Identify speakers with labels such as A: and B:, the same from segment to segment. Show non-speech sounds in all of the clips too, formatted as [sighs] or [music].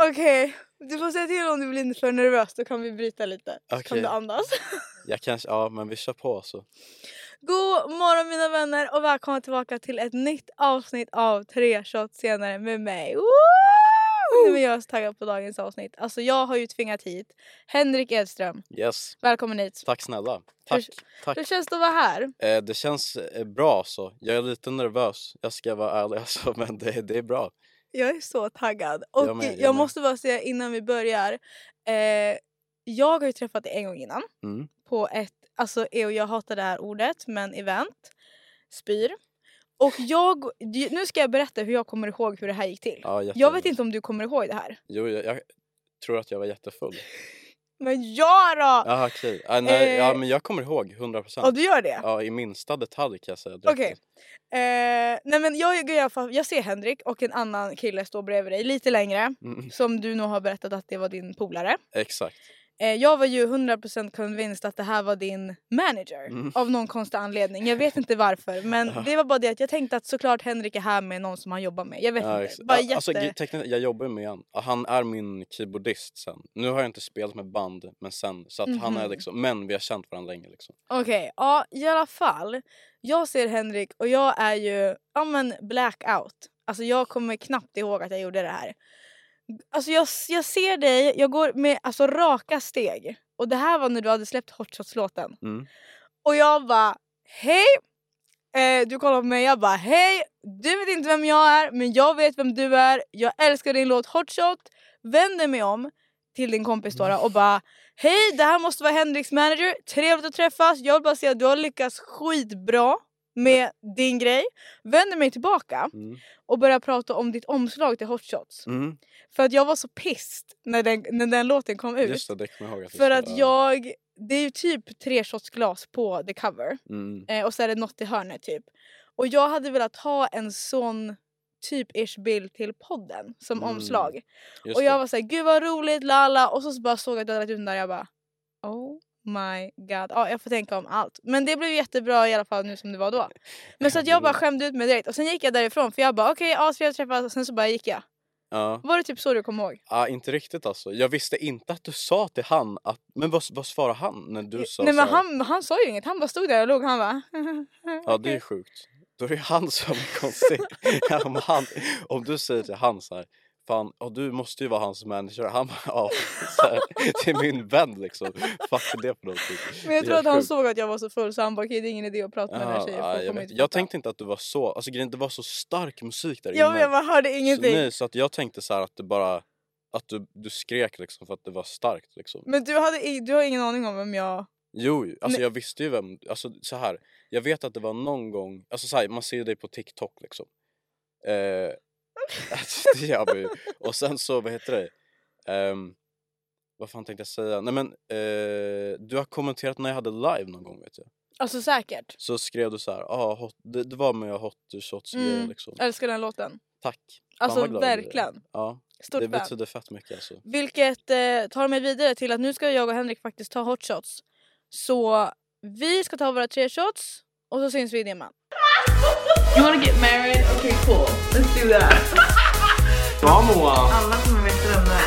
A: Okej, du får säga till om du blir för nervös. Då kan vi bryta lite. Så kan
B: Okej.
A: du andas. [laughs]
B: Jag kanske, ja men vi kör på så.
A: God morgon mina vänner och välkomna tillbaka till ett nytt avsnitt av Tre shots senare med mig. Woo! Nej, men jag är så taggad på dagens avsnitt. Alltså jag har ju tvingat hit Henrik Edström.
B: Yes.
A: Välkommen hit.
B: Tack snälla. Tack.
A: Hur-
B: tack.
A: Hur känns det att vara här?
B: Eh, det känns eh, bra så. Jag är lite nervös. Jag ska vara ärlig [laughs] alltså, men det, det är bra.
A: Jag är så taggad. Och jag,
B: med, jag med.
A: måste bara säga innan vi börjar. Eh, jag har ju träffat dig en gång innan.
B: Mm.
A: På ett, alltså och jag hatar det här ordet, men event. Spyr. Och jag, nu ska jag berätta hur jag kommer ihåg hur det här gick till.
B: Ja,
A: Jag
B: jätte-
A: vet inte om du kommer ihåg det här.
B: Jo, jag, jag tror att jag var jättefull.
A: Men jag då!
B: Jaha okej. Ah, nej, ja,
A: Eh.
B: men jag kommer ihåg 100
A: Ja,
B: procent.
A: du gör det?
B: Ja, i minsta detalj kan jag säga. direkt.
A: Okej. Eh, nej men jag, jag, jag, jag ser Henrik och en annan kille stå bredvid dig lite längre.
B: Mm,
A: Som du nog har berättat att det var din polare.
B: exakt.
A: Eh, jag var ju 100% convinced att det här var din manager.
B: Mm.
A: Av någon konstig anledning. Jag vet inte varför. Men
B: [laughs] Ja.
A: det var bara det att jag tänkte att såklart Henrik är här med någon som han jobbar med. Jag vet
B: Ja,
A: inte.
B: exakt.
A: Bara
B: Ja, alltså,
A: jätte...
B: gre- tekniskt, jag jobbar ju med han. Ja, Han är min keyboardist sen. Nu har jag inte spelat med band men sen. Så att han är
A: Mhm.
B: liksom, men vi har känt varandra länge liksom.
A: Okej, ja i alla fall. Jag ser Henrik och jag är ju ja, men blackout. Alltså jag kommer knappt ihåg att jag gjorde det här. Alltså jag, jag ser dig, jag går med alltså, raka steg. Och det här var när du hade släppt Hot Shots-låten.
B: Mm.
A: Och jag bara hej! Eh, du kollar på mig, jag bara hej! Du vet inte vem jag är, men jag vet vem du är. Jag älskar din låt Hot Shot. Vänder mig om till din kompis
B: Mm.
A: Dora och bara Hej, det här måste vara Henriks manager. Trevligt att träffas. Jag vill bara säga att du har lyckats skitbra med din grej. Vänder mig tillbaka
B: Mm.
A: och börjar prata om ditt omslag till Hot Shots.
B: Mm.
A: För att jag var så pissed när den, när den låten kom ut.
B: Just det, det kommer jag ihåg. Att du
A: För
B: sa.
A: att jag... Det är ju typ tre shots glas på the cover.
B: Mm.
A: Eh, och så är det något i hörnet typ. Och jag hade velat ha en sån typ ish bild till podden som
B: Mm,
A: omslag.
B: Just
A: Och jag
B: det.
A: var såhär, gud vad roligt, lala. Och så så bara såg jag att du hade lagt ut den där jag bara, oh my god. Ja, jag får tänka om allt. Men det blev jättebra i alla fall nu som det
B: [laughs]
A: var då. Men så att jag bara skämde ut mig direkt. Och sen gick jag därifrån för jag bara, okej, okay, astrevligt att träffas. Och sen så bara gick jag.
B: Ja.
A: Var det typ så du kom ihåg?
B: Ja, inte riktigt alltså. Jag visste inte att du sa till han att... Men vad, vad svarade han när du sa
A: Nej
B: så
A: men
B: här?
A: han, han sa ju inget, han bara stod där och låg. Han bara, [laughs]
B: Ja, det är sjukt. Då är det han som är konstig. [laughs] om, han, om du säger till han så här... Fan, ja, du måste ju vara hans manager. Han bara, ja, så här, det är min vän liksom. Fuck är det för någonting?
A: Men jag
B: Det är
A: tror att
B: helt
A: han
B: sjukt.
A: såg att jag var så full så han bara, okej det är ingen idé att prata med den här
B: Ja,
A: tjejen. för
B: ja,
A: hon
B: jag,
A: kommer
B: vet.
A: inte
B: jag
A: fatta."
B: tänkte inte att du var så... Alltså grejen, det var så stark musik där
A: Jag
B: innan.
A: men man hörde
B: Så,
A: ingenting.
B: nej, så att jag tänkte så här att det bara... Att du, du skrek liksom för att det var starkt liksom.
A: Men du, hade, i- du har ingen aning om vem jag...
B: Jo, ju. alltså
A: Mm. Nej.
B: jag visste ju vem, alltså så här. Jag vet att det var någon gång, alltså så här, man ser ju dig på TikTok liksom. Eh, [laughs] alltså, det gör man ju. Och sen så, vad heter det? Ehm, vad fan tänkte jag säga? Nej men, eh, du har kommenterat när jag hade live någon gång vet jag.
A: Alltså säkert.
B: Så skrev du så här, ah, hot, det, det var med hot shots
A: Mm.
B: mm. liksom.
A: Älskar den låten.
B: Tack.
A: Alltså
B: vad glad jag blir.
A: verkligen.
B: Ja,
A: Stort
B: det
A: fan.
B: betyder fett mycket alltså.
A: Vilket eh, tar mig vidare till att nu ska jag och Henrik faktiskt ta hot shots. Så vi ska ta våra tre shots och så syns vi i dimman.
C: You wanna get married? Okay, cool. Let's do that. Alla kommer veta vem det är.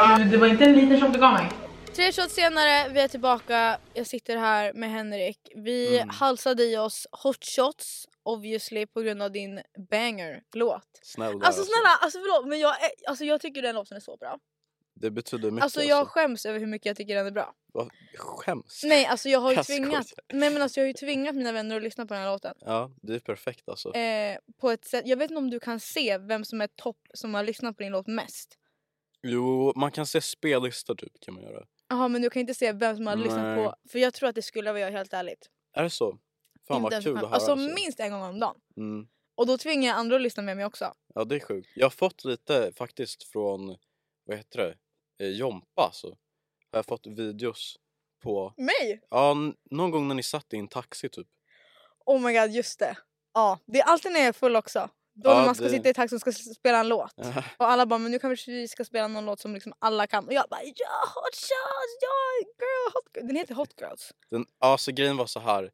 C: [laughs] Du, Det var inte en liten shot du gav mig.
A: Tre shots senare, vi är tillbaka. Jag sitter här med Henrik. Vi
B: Mm.
A: halsade i oss hot shots obviously på grund av din banger-låt.
B: Snälla,
A: Alltså snälla, alltså förlåt men jag, är, alltså, jag tycker den låten är så bra.
B: Det betyder mycket
A: Alltså
B: alltså.
A: jag skäms över hur mycket jag tycker den är bra.
B: Vad- Skäms.
A: Nej, alltså jag har ju
B: Jag
A: tvingat,
B: skojar.
A: nej, men alltså jag har ju tvingat mina vänner att lyssna på den här låten.
B: Ja, det är perfekt alltså.
A: Eh, på ett sätt, jag vet inte om du kan se vem som är topp som har lyssnat på din låt mest.
B: Jo, man kan se spellistor typ kan man göra.
A: Jaha, men du kan inte se vem som har lyssnat
B: Nej.
A: på... För jag tror att det skulle vara jag helt ärligt.
B: Är det så? Fan
A: Inte ens
B: vad kul
A: en
B: att
A: chans.
B: höra. alltså.
A: Alltså minst en gång om dagen.
B: Mm.
A: Och då tvingar jag andra att lyssna med mig också.
B: Ja det är sjukt. Jag har fått lite faktiskt från, vad heter det, eh, Jompa alltså. Jag har fått videos på,
A: Mig?
B: ja n- någon gång när ni satt i en taxi typ. [laughs]
A: Oh my god, just det. Ja, det är alltid när jag är full också. Då
B: Ja,
A: när man ska
B: det-
A: sitta i taxin och ska s- spela en låt. Och alla bara, men nu kanske vi ska spela någon låt som liksom alla kan. Och jag bara, ja, hot shots, ja, girl, hot girls. Den heter
B: [laughs]
A: Hot Girls.
B: Den, alltså grejen var så här.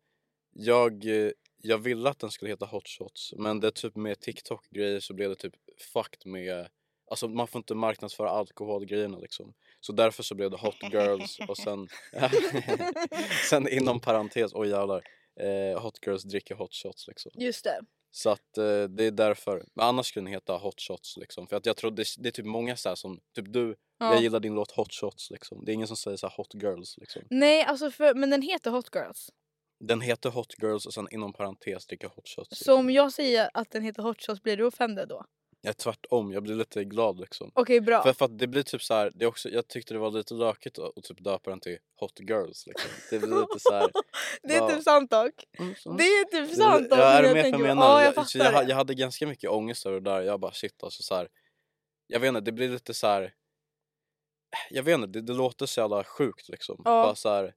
B: Jag, eh, jag ville att den skulle heta Hot Shots men det är typ med TikTok-grejer så blev det typ fucked med Alltså man får inte marknadsföra alkoholgrejerna liksom. Så därför så blev det Hot Girls och sen [laughs] Sen inom parentes, oj jävlar. Eh, hot Girls dricker hot shots liksom.
A: Just det.
B: Så att eh, det är därför. Men annars skulle den heta hot shots liksom. För att jag tror det, det är typ många så här som, typ du,
A: Ja.
B: jag gillar din låt hot shots liksom. Det är ingen som säger så här hot girls liksom.
A: Nej, alltså för, men den heter Hot Girls.
B: Den heter Hot Girls och sen inom parentes dricker hot shots.
A: Så
B: Liksom.
A: om jag säger att den heter Hot Shots, blir du offended då?
B: Jag är tvärtom, jag blir lite glad liksom.
A: Okej, bra.
B: För, för att det blir typ så här, det är också, jag tyckte det var lite lökigt att, att typ döpa den till Hot Girls liksom. Det blir lite så här.
A: [laughs] det är
B: ja.
A: typ sant dock.
B: mm, mm.
A: Det är typ
B: Ja,
A: sant dock. men
B: är du
A: jag
B: med
A: tänker
B: på
A: bara,
B: vad jag menar?
A: Ja, jag
B: Jag, så jag,
A: fattar
B: ha- jag
A: det.
B: hade ganska mycket ångest över det där. Jag bara shit alltså så här. Jag vet inte, det blir lite så här. Jag vet inte, det, det låter så jävla sjukt liksom.
A: Ja.
B: Bara så här.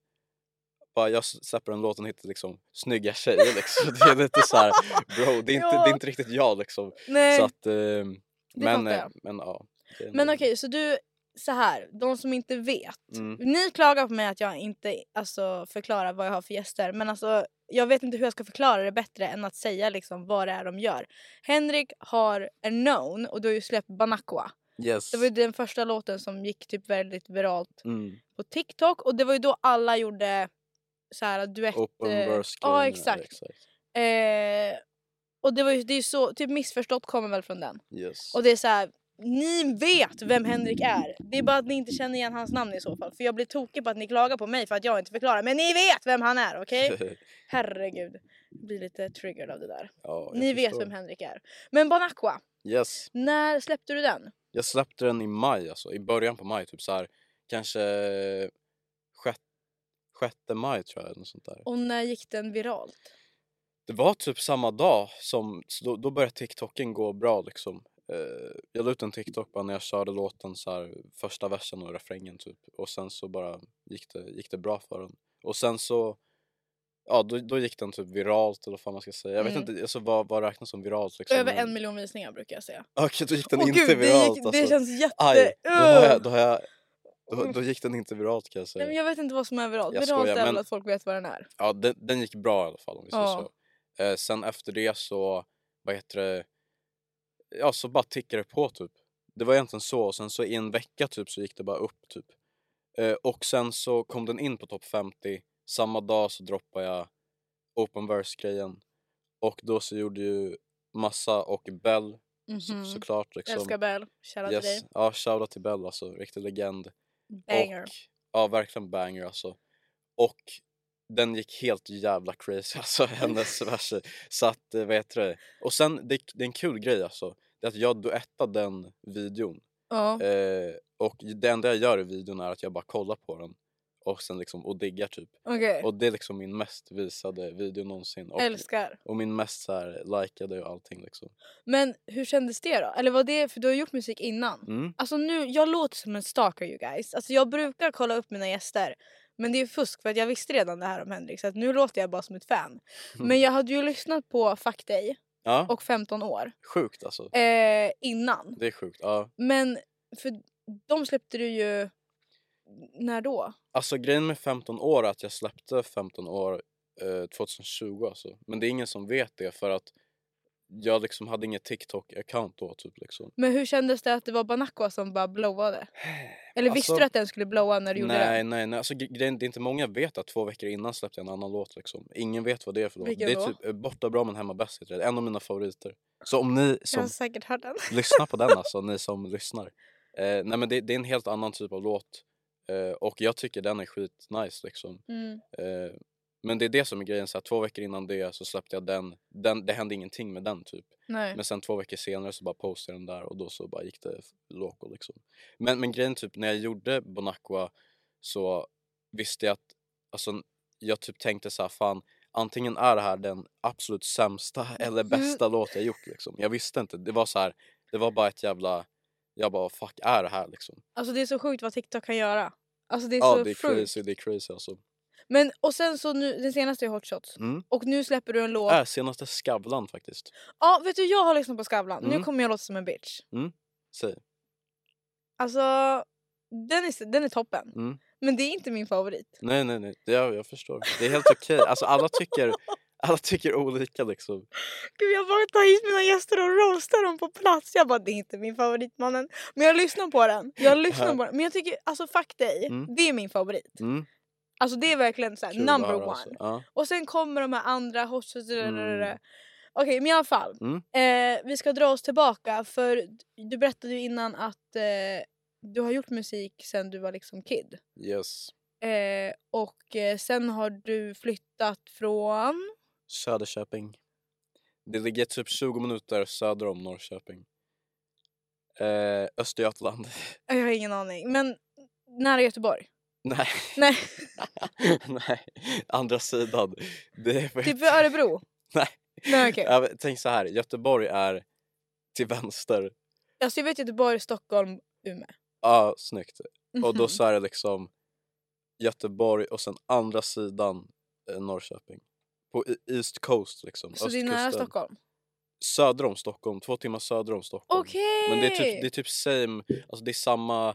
B: Bara jag s- släpper en låt och hittar liksom snygga tjejer liksom. [laughs] Det är lite så här, bro det är inte, det
A: Ja.
B: är inte riktigt jag liksom.
A: Nej.
B: Så att, ehm, men,
A: fattar
B: eh,
A: jag.
B: men ja. det är
A: Men
B: nog-
A: okej, så du, så här, de som inte vet.
B: Mm.
A: Ni klagar på mig att jag inte alltså, förklarar vad jag har för gäster. Men alltså, jag vet inte hur jag ska förklara det bättre än att säga liksom, vad det är de gör. Henrik har en known och du har ju släppt Banakwa.
B: Yes.
A: Det var ju den första låten som gick typ väldigt viralt
B: Mm.
A: på TikTok. Och det var ju då alla gjorde så här duett...
B: Open
A: eh,
B: verse liksom.
A: Ja,
B: grejerna,
A: exakt. Eh, och det var ju, det är ju så, typ missförstått kommer väl från den.
B: Yes.
A: Och det är så här, ni vet vem Henrik är. Det är bara att ni inte känner igen hans namn i så fall. För jag blir tokig på att ni klagar på mig för att jag inte förklarar. Men ni vet vem han är, okej? Herregud. Jag blir lite triggered av det där.
B: [laughs] ja, jag
A: Ni vet
B: förstår.
A: vem Henrik är. Men Banakwa,
B: Yes.
A: när släppte du den?
B: Jag släppte den i maj, alltså i början på maj, typ så här kanske sjätte, sjätte maj tror jag. eller Något sånt där.
A: Och när gick den viralt?
B: Det var typ samma dag som, så då, då började TikToken gå bra liksom. Eh, jag la ut en TikTok bara när jag körde låten så här, första versen och refrängen typ och sen så bara gick det, gick det bra för den. Och sen så, ja då, då gick den typ viralt eller vad fan man ska säga. Jag vet
A: Mm.
B: inte, alltså vad, vad räknas som viralt liksom?
A: Över
B: men-
A: en miljon visningar brukar jag säga.
B: [laughs] Okej, då gick den
A: Åh
B: inte
A: gud, det,
B: viralt
A: gick,
B: alltså.
A: det känns jätte...
B: Aj, då har
A: Ugh.
B: jag, då har jag då, då gick den inte viralt kan jag
A: Nej, men
B: säga.
A: jag vet inte vad som är viralt.
B: Jag
A: Viralt
B: skojar,
A: är väl
B: men-
A: att folk vet vad den är.
B: Ja, den, den gick bra i alla fall om vi säger
A: Ja.
B: så. Eh, sen efter det så, vad heter det, ja så bara tickade det på typ. Det var egentligen så och sen så i en vecka typ så gick det bara upp typ. Eh, och sen så kom den in på topp 50, samma dag så droppade jag open verse grejen och då så gjorde ju Massa och Bell så,
A: Mhm.
B: såklart liksom.
A: Älskar Bell. Shoutout till dig.
B: yes. Ja, shoutout till Bell alltså, riktig legend.
A: Banger.
B: Och, ja, verkligen banger alltså. Och den gick helt jävla crazy [laughs] alltså, hennes verser. Så att, eh, vad heter det? Och sen, det, det är en kul grej alltså. Det är att jag duettade den videon.
A: Ja.
B: Eh, och det enda jag gör i videon är att jag bara kollar på den. Och sen liksom, och diggar typ.
A: Okej.
B: Och det är liksom min mest visade video någonsin. Och,
A: Älskar.
B: och min mest så här likade och allting liksom.
A: Men hur kändes det då? Eller var det, för du har gjort musik innan.
B: Mm.
A: Alltså nu, jag låter som en stalker you guys. Alltså jag brukar kolla upp mina gäster. Men det är fusk för att jag visste redan det här om Henrik så att nu låter jag bara som ett fan.
B: Mm.
A: Men jag hade ju lyssnat på Fuck Dig
B: Ja,
A: och 15 år
B: sjukt alltså.
A: eh, innan.
B: Det är sjukt. Ja.
A: Men för de släppte du ju... När då?
B: Alltså grejen med 15 år är att jag släppte 15 år eh, 2020 alltså. Men det är ingen som vet det för att jag liksom hade ingen TikTok-account då typ liksom.
A: Men hur kändes det att det var Banakwa som bara blowade? Eller visste
B: Alltså-
A: du att den skulle blowa när du gjorde
B: Nej,
A: den?
B: nej, nej. Alltså gre- grejen, det är inte många vet att två veckor innan släppte jag en annan låt liksom. Ingen vet vad det är för låt.
A: Vilken
B: det är
A: då?
B: typ eh, Borta bra men hemma bäst heter det. En av mina favoriter. Så om ni
A: Jag
B: som
A: har säkert hört den.
B: lyssna
A: [laughs]
B: på den alltså, ni som lyssnar. Eh, nej men det, det är en helt annan typ av låt. Eh, och jag tycker den är skitnice liksom.
A: Mm.
B: Eh, men det är det som är grejen, så här, två veckor innan det så släppte jag den. den. Det hände ingenting med den typ.
A: Nej.
B: Men sen två veckor senare så bara postade jag den där och då så bara gick det f- loco liksom. Men, men grejen typ när jag gjorde Bonacqua så visste jag att, alltså jag typ tänkte så här fan antingen är det här den absolut sämsta [laughs] eller
A: Mm.
B: bästa låt jag gjort liksom. Jag visste inte, det var så här, det var bara ett jävla, jag bara fuck är det här liksom?
A: Alltså det är så sjukt vad TikTok kan göra. Alltså det är
B: Ja
A: så
B: det är
A: sjukt.
B: crazy, det är crazy alltså.
A: Men och sen så nu, den senaste är Hot Shots.
B: Mm.
A: Och nu släpper du en låt.
B: Äh, senaste Skavlan faktiskt.
A: Ja vet du jag har lyssnat på Skavlan.
B: Mm.
A: Nu kommer jag låta som en bitch.
B: Säg.
A: Alltså den är, den är toppen.
B: Mm.
A: Men det är inte min favorit.
B: Nej nej nej, det, jag, jag förstår. Det är helt okej. Alltså alla
A: [laughs]
B: tycker, alla tycker olika liksom.
A: Gud jag bara tar hit mina gäster och roastar dem på plats. Jag bara det är inte min favorit mannen. Men jag lyssnar på den. Jag lyssnar på den. Men jag tycker alltså fuck dig.
B: Mm.
A: Det är min favorit.
B: Mm.
A: Alltså det är verkligen så här,
B: kul att
A: number
B: höra,
A: one.
B: alltså. Ja.
A: Och sen kommer de här andra hot
B: Mm.
A: mm. Okej men i alla fall.
B: Mm.
A: Eh, vi ska dra oss tillbaka för du berättade ju innan att eh, du har gjort musik sen du var liksom kid.
B: Yes.
A: Eh, och eh, sen har du flyttat från...
B: Söderköping. Det ligger typ 20 minuter söder om Norrköping. Eh, Östergötland. [laughs]
A: Jag har ingen aning. Men nära Göteborg?
B: Nej.
A: Nej,
B: Nej, andra sidan. Det är för...
A: typ vid Örebro?
B: Nej.
A: Nej okej.
B: Ja, men Tänk så här, Göteborg är till vänster.
A: Alltså jag vet Göteborg, Stockholm, Umeå.
B: Ja, snyggt. Och då
A: Mhm.
B: så är det liksom Göteborg och sen andra sidan eh, Norrköping. På e- East Coast liksom.
A: [laughs] Så det är nära
B: östkusten.
A: Stockholm?
B: Söder om Stockholm, två timmar söder om Stockholm.
A: Okej!
B: Men det är typ, det är typ same, alltså det är samma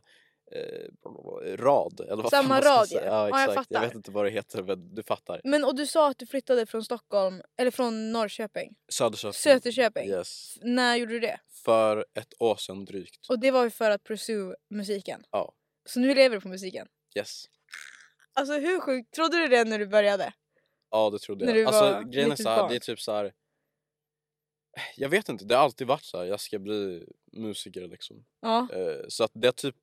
B: eh, rad. Eller vad fan
A: Samma
B: man ska
A: rad,
B: säga.
A: ja. Ja,
B: ja.
A: jag
B: exakt. jag
A: fattar.
B: vet inte vad det heter men du fattar.
A: Men och du sa att du flyttade från Stockholm, eller från Norrköping?
B: Söderköping.
A: Söderköping?
B: Yes.
A: När gjorde du det?
B: För ett år sedan drygt.
A: Och det var ju för att pursue musiken?
B: Ja.
A: Så nu lever du på musiken?
B: Yes.
A: Alltså hur sjukt? Trodde du det när du började?
B: Ja det trodde
A: När
B: jag.
A: du
B: Alltså
A: var
B: grejen är
A: litet
B: så här,
A: barn.
B: det är typ så här. [sighs] Jag vet inte, det har alltid varit så här. jag ska bli musiker liksom.
A: Ja.
B: Eh, så att det är typ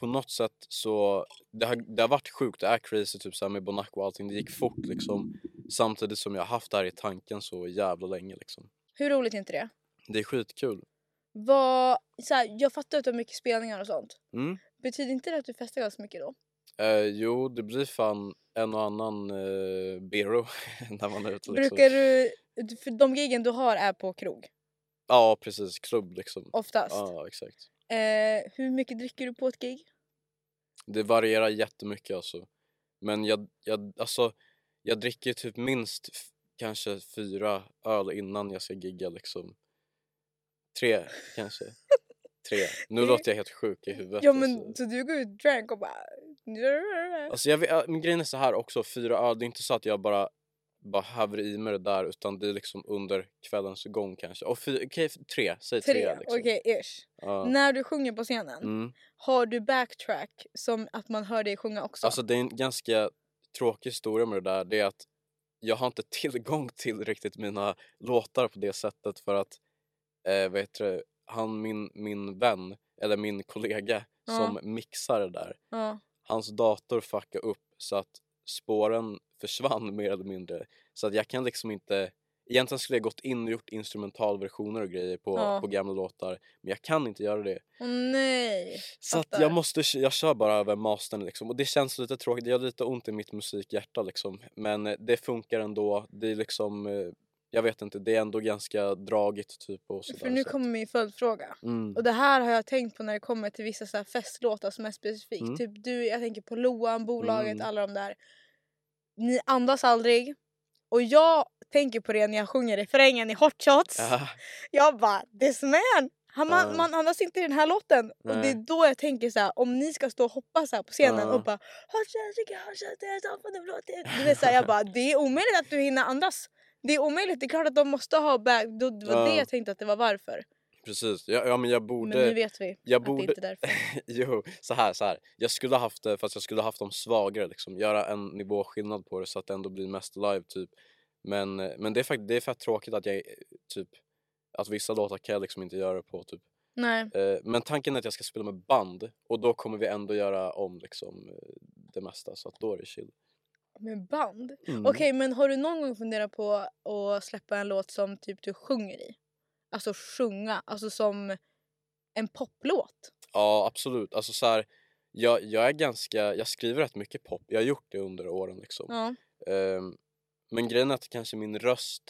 B: på något sätt så, det har, det har varit sjukt, det är crazy typ så här med Bonac och allting, det gick fort liksom. Samtidigt som jag har haft det här i tanken så jävla länge liksom.
A: Hur roligt är inte det?
B: Det är skitkul.
A: Vad, så här, jag fattar att du har mycket spelningar och sånt.
B: Mm.
A: Betyder inte det att du festar ganska mycket då?
B: Eh, jo, det blir fan en och annan eh, bero [laughs] när man är ute. Liksom.
A: Brukar du... För de giggen du har är på krog,
B: Ja, precis. Klubb liksom.
A: oftast.
B: Ja, exakt.
A: Eh, hur mycket dricker du på ett gig?
B: Det varierar jättemycket alltså. Men jag, jag, alltså, jag dricker typ minst f- kanske fyra öl innan jag ska gigga liksom. Tre kanske. Tre. Nu
A: Det-
B: låter jag helt sjuk i huvudet.
A: Ja men
B: alltså.
A: så du går ut drank och bara...
B: Alltså jag vet, men grejen är så här också, fyra öl, det är inte så att jag bara bara häver i mig det där utan det är liksom under kvällens gång kanske. Och fy, okej, f- tre, säg tre,
A: Tre,
B: liksom.
A: okej ish.
B: Ja.
A: När du sjunger på scenen,
B: Mm.
A: har du backtrack som att man hör dig sjunga också?
B: Alltså det är en ganska tråkig historia med det där, det är att jag har inte [laughs] tillgång till riktigt mina låtar på det sättet för att eh, vad heter det, han min, min vän, eller min kollega
A: Ja.
B: som mixar det där,
A: ja.
B: hans dator fuckade upp så att spåren försvann [laughs] mer eller mindre. Så att jag kan liksom inte... Egentligen skulle jag gått in och gjort instrumentalversioner och grejer på,
A: Ja.
B: på gamla låtar men jag kan inte göra det.
A: Åh nej.
B: Så att
A: Fattar.
B: jag måste, jag kör bara över mastern liksom och det känns lite tråkigt, det gör lite ont i mitt musikhjärta liksom. Men eh, det funkar ändå, det är liksom, eh, jag vet inte, det är ändå ganska dragigt typ och sådär.
A: För nu
B: så att-
A: kommer min följdfråga. [laughs]
B: mm.
A: Och det här har jag tänkt på när det kommer till vissa så här festlåtar som är specifikt.
B: Mm.
A: Typ du, jag tänker på Loan, Bolaget,
B: Mm.
A: alla de där. Ni andas aldrig. Och jag tänker på det när jag sjunger refrängen i Hot Shots.
B: Ja,
A: Jag bara this man! Han, man,
B: Ja.
A: man andas inte i den här låten. Och det är
B: Nej.
A: då jag tänker så här, om ni ska stå och hoppa så här på scenen
B: Ja.
A: och bara Hot Shots, jag kan Hot Shots, det är så fan det låter." Du vet så här, jag bara det är omöjligt att du hinner andas. Det är omöjligt, det är klart att de måste ha back. Då- Det var
B: Ja.
A: det jag tänkte att det var varför.
B: precis, ja, ja men jag borde...
A: Men nu vet vi
B: jag
A: att det
B: borde,
A: inte är därför.
B: [laughs] Jo, så här, så här. Jag skulle ha haft det fast jag skulle ha haft dem svagare liksom. Göra en nivåskillnad på det så att det ändå blir mest live typ. Men, eh, men det är faktiskt det är fett tråkigt att jag eh, typ att vissa låtar kan jag liksom inte göra det på typ.
A: Nej.
B: Eh, men tanken är att jag ska spela med band och då kommer vi ändå göra om liksom eh, det mesta så att då är det chill.
A: Med band?
B: Mm.
A: Okej, men har du någon gång funderat på att släppa en låt som typ du sjunger i? Alltså sjunga, alltså som en poplåt?
B: Ja, absolut. Alltså så här, jag, jag är ganska, jag skriver rätt mycket pop. Jag har gjort det under åren liksom.
A: Ja.
B: Ehm, Men grejen är att kanske min röst,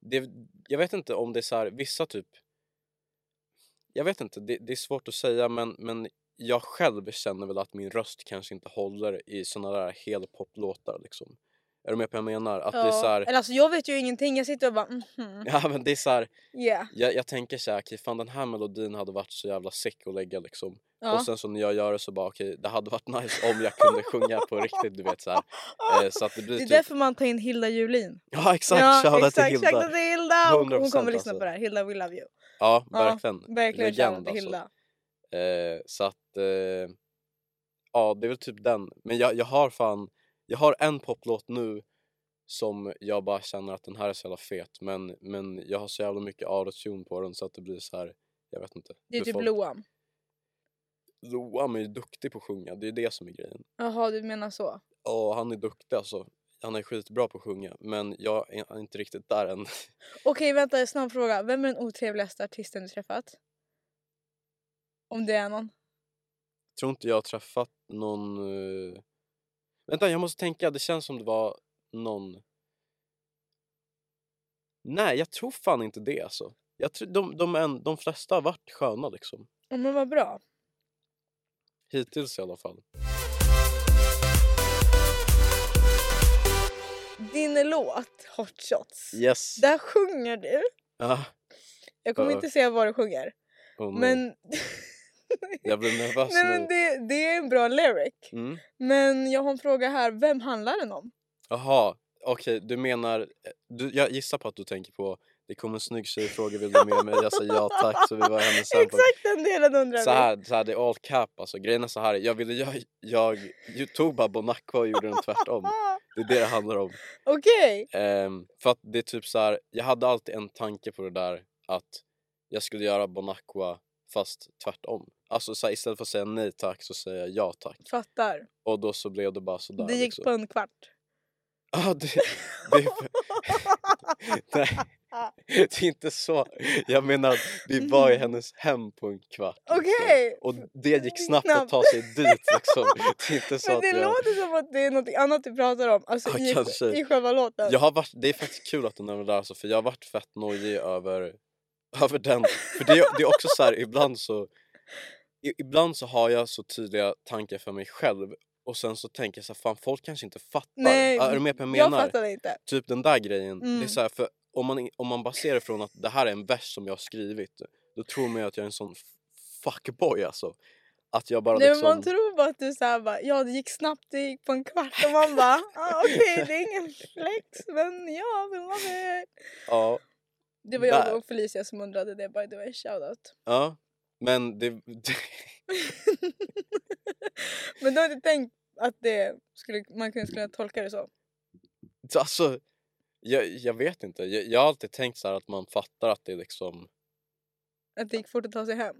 B: det, jag vet inte om det är så här, vissa typ, jag vet inte, det, det är svårt att säga men, men jag själv känner väl att min röst kanske inte håller i såna där helpoplåtar liksom. Är du med på vad jag menar? Att det är så här,
A: Eller alltså jag vet ju ingenting, jag sitter och bara mhm.
B: ja men det är så här,
A: Yeah.
B: jag, jag tänker så här, okej fan den här melodin hade varit så jävla sick att lägga liksom.
A: Ja.
B: Och sen så när jag gör det så bara okej, det hade varit nice om
A: [laughs]
B: jag kunde sjunga på riktigt du vet så här. Eh, så att det blir
A: Det är
B: typ,
A: därför man tar in Hilda Julin.
B: [laughs] ja exakt, shoutout till Hilda.
A: shoutout till Hilda. Hon, hon
B: 100%
A: kommer lyssna
B: alltså.
A: på det här. Hilda we love you.
B: Ja,
A: Ja,
B: verkligen.
A: Verkligen
B: Legend,
A: shoutout till
B: alltså.
A: Hilda.
B: Eh, så att... Eh, ja, det är väl typ den. Men jag, jag har fan... Jag har en poplåt nu som jag bara känner att den här är så jävla fet men, men jag har så jävla mycket autotune på den så att det blir så här... Jag vet inte.
A: Det är
B: hur
A: typ
B: folk-
A: Loam.
B: Loam är ju duktig på att sjunga, det är det som är grejen.
A: Jaha du menar så.
B: Ja, han är duktig alltså. Han är skitbra på att sjunga men jag är inte riktigt där än. [laughs]
A: Okej vänta snabb fråga. Vem är den otrevligaste artisten du träffat? Om det är någon.
B: tror inte jag har träffat någon... eh, Vänta, jag måste tänka. Det känns som det var någon... Nej, jag tror fan inte det alltså. Jag tror, de, de, en, de flesta har varit sköna liksom.
A: Ja, men vad bra.
B: Hittills i alla fall.
A: Din låt Hot Shots.
B: Yes.
A: Där sjunger du.
B: Ah,
A: Jag kommer
B: Ja.
A: inte säga vad du sjunger.
B: oh, men...
A: [laughs] Men,
B: Jag blir nervös
A: Nej, [laughs] men
B: nu.
A: det, det är en bra lyric.
B: Alltså, Mm.
A: Men jag har en fråga här. Vem handlar den om?
B: Jaha, okej. du menar... eh, Du, jag gissar på att du tänker på det kommer en snygg tjej fråga vill du med mig? Jag säger ja tack så vi var hemma sen. på-
A: Exakt den delen undrar vi.
B: så här, så här, det är all cap alltså. Grejen är så här, jag ville jag, jag ju- tog bara Bonacqua och gjorde den tvärtom.
A: Ah,
B: Det är det det handlar om.
A: Okej.
B: Ehm, för att det är typ så här, jag hade alltid en tanke på det där att jag skulle göra Bonacqua fast tvärtom. Alltså så här, istället för att säga nej tack så säger jag ja tack.
A: Fattar.
B: Och då så blev det bara sådär.
A: det gick
B: liksom.
A: på en kvart.
B: Ja, det, det, är för- [laughs] nej, det är inte så. Jag menar, vi var i hennes hem på en kvart. liksom.
A: Okej.
B: Och det gick snabbt att
A: Snabbt.
B: ta sig dit liksom. Det är inte så
A: Men
B: att
A: det
B: jag...
A: låter som att det är något annat du pratar om. Alltså
B: Ja,
A: i,
B: kanske.
A: i själva låten.
B: Jag har varit, det är faktiskt kul att du nämner det där alltså, för jag har varit fett nojig över, över den. För det, är- det är också så här, ibland så i- ibland så har jag så tydliga tankar för mig själv och sen så tänker jag så här, fan folk kanske inte fattar.
A: Nej,
B: är du med på vad jag
A: jag
B: menar?
A: fattar inte.
B: Typ den där grejen. Det är
A: Mm.
B: så här, för om man, om man baserar från att det här är en vers som jag har skrivit då tror man ju att jag är en sån f- fuckboy alltså. Att jag bara
A: Nej, men
B: liksom...
A: man tror bara att du såhär bara, ja det gick snabbt, det gick på en kvart och man bara [laughs] ah, okej det är ingen flex men ja, vill man det?
B: ja,
A: Det var jag
B: Där.
A: och Felicia som undrade det by the way, shoutout.
B: ja. Men det, det, [laughs]
A: Men du har inte tänkt att det skulle, man kunde skulle tolka det så?
B: Så, Alltså, jag, jag vet inte. Jag, jag har alltid tänkt så här att man fattar att det är liksom...
A: Att det gick fort att ta sig hem?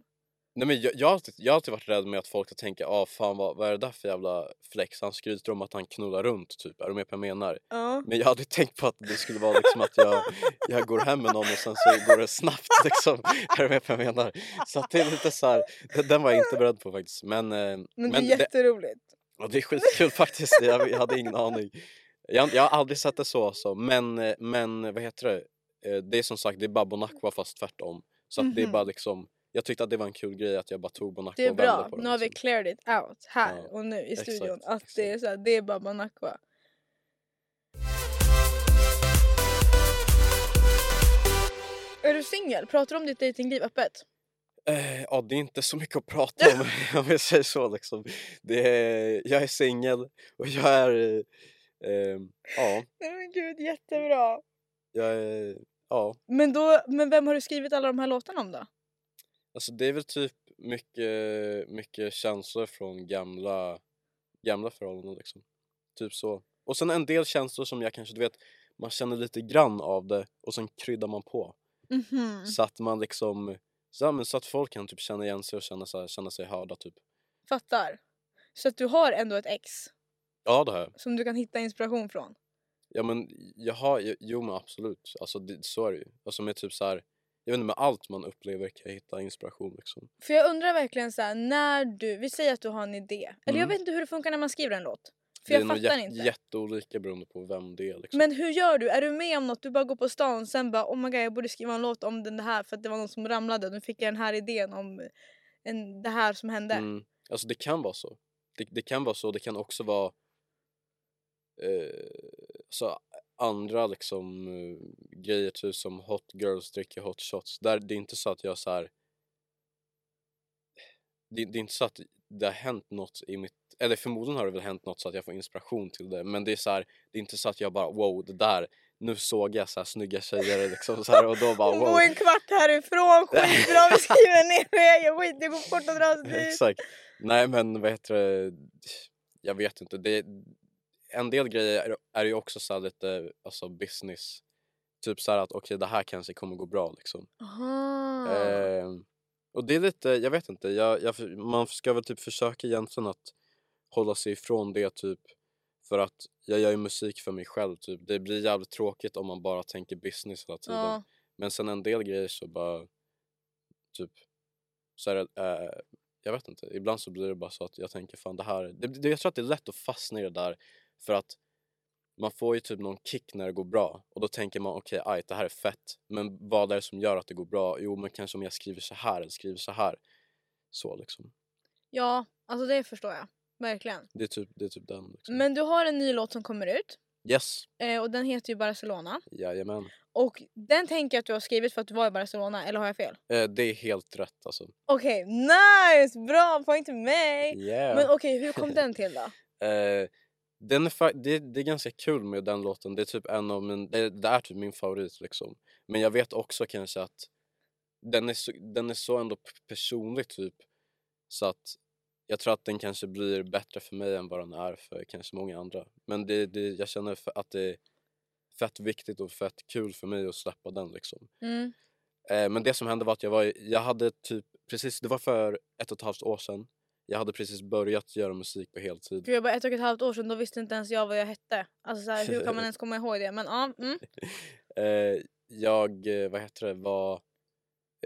B: Nej men jag, jag, har alltid, jag har alltid varit rädd med att folk ska tänka ah, fan vad, vad är det där för jävla flex? Han skryter om att han knullar runt typ. Är du med på vad jag menar?
A: Ja.
B: Men jag hade tänkt på att det skulle vara liksom att jag, jag går hem med någon och sen så går det snabbt liksom. Är du med på vad jag menar? Så att det är lite så här, den, den var jag inte beredd på faktiskt. Men, eh,
A: Men det
B: men
A: är jätteroligt.
B: Ja, det är skitkul faktiskt. Jag, jag hade ingen aning. Jag, jag har aldrig sett det så alltså. Men, eh, men vad heter det? Eh, Det är som sagt, det är bara Bonacqua fast tvärtom. Så att det är
A: Mhm.
B: bara liksom, jag tyckte att det var en kul grej att jag bara tog Bonacqua
A: Det är
B: och vände
A: bra,
B: på den.
A: nu har vi
B: liksom.
A: cleared it out här
B: Ja,
A: och nu i
B: exakt,
A: studion. Att det är
B: exakt.
A: såhär, det är bara Banacqua. Är du singel? Pratar du om ditt dejtingliv öppet?
B: Eh, ja, det är inte så mycket att prata om [laughs] om jag säger så liksom. Det är, jag är singel och jag är, eh, eh, ja,
A: Nej men gud, jättebra!
B: jag är, ja.
A: Men, då, men vem har du skrivit alla de här låtarna om då?
B: Alltså det är väl typ mycket, mycket känslor från gamla, gamla förhållanden liksom. Typ så. Och sen en del känslor som jag kanske, du vet, man känner lite grann av det och sen kryddar man på.
A: Mhm,
B: Så att man liksom, så, här, men, så att folk kan typ känna igen sig och känna, så här, känna sig hörda typ.
A: Fattar. Så att du har ändå ett ex
B: Ja det har jag.
A: som du kan hitta inspiration från.
B: Ja men jag har, jo, jo men absolut. Alltså det, så är det ju. Alltså med typ så här, jag vet inte med allt man upplever kan jag hitta inspiration liksom.
A: För jag undrar verkligen så här, när du, vi säger att du har en idé. Eller jag
B: Mm.
A: vet inte hur det funkar när man skriver en låt. För jag
B: det är nog
A: fattar
B: jä-
A: inte.
B: jätteolika beroende på vem det är. Liksom.
A: Men hur gör du? Är du med om något? Du bara går på stan och sen bara oh my god jag borde skriva en låt om den här för att det var någon som ramlade. Nu fick jag den här idén om en, det här som hände.
B: Mm. Alltså det kan vara så. Det, det kan vara så, det kan också vara eh, så andra liksom eh, grejer typ som hot girls dricker hot shots. Där, det är inte så att jag så här. Det, det är inte så att det har hänt något i mitt, eller förmodligen har det väl hänt något så att jag får inspiration till det men det är så här, det är inte så att jag bara wow det där, nu såg jag så här snygga tjejer liksom så här, och då
A: [laughs]
B: bara
A: Hon
B: wow.
A: bor en
B: [laughs]
A: kvart härifrån, skitbra vi skriver ner det, jag skit, det går fort att dra sig dit.
B: Exakt. Nej men vad heter det? Jag vet inte. Det, en del grejer är- är ju också så här lite alltså business. Typ så här att okej det här kanske kommer gå bra liksom.
A: Aha.
B: Ehm, och det är lite, jag vet inte. Jag, jag, man ska väl typ försöka egentligen att hålla sig ifrån det typ. För att jag gör ju musik för mig själv typ. Det blir jävligt tråkigt om man bara tänker business hela tiden.
A: ja.
B: Men sen en del grejer så bara typ så är det, eh, jag vet inte, ibland så blir det bara så att jag tänker fan det här, det, det, jag tror att det är lätt att fastna i det där för att man får ju typ någon kick när det går bra och då tänker man okej aj det här är fett men vad är det som gör att det går bra? Jo men kanske om jag skriver så här eller skriver så här. Så liksom.
A: ja, alltså det förstår jag. Verkligen.
B: Det är typ, det är typ den liksom.
A: Men du har en ny låt som kommer ut
B: Yes,
A: eh, och den heter ju Barcelona.
B: jajamän.
A: Och den tänker jag att du har skrivit för att du var i Barcelona, eller har jag fel?
B: Eh, det är helt rätt alltså.
A: Okej, nice! Bra poäng till mig!
B: Yeah.
A: Men okej, hur kom den
B: [laughs]
A: till då?
B: Eh, den är fa- det, det är ganska kul med den låten. Det är typ en av min, det, det är typ min favorit liksom. Men jag vet också kanske att den är så, den är så ändå p- personlig typ. Så att jag tror att den kanske blir bättre för mig än vad den är för kanske många andra. Men det, det, jag känner f- att det är fett viktigt och fett kul för mig att släppa den liksom.
A: Mm.
B: Eh, men det som hände var att jag var, i- jag hade typ precis, det var för ett och ett halvt år sedan. Jag hade precis börjat göra musik på heltid.
A: Gud, jag bara ett och ett halvt år sedan, då visste inte ens jag vad jag hette. Alltså så här, hur kan man ens komma ihåg det? Men ja, mm.
B: [laughs] Eh, jag, eh, vad heter det, var...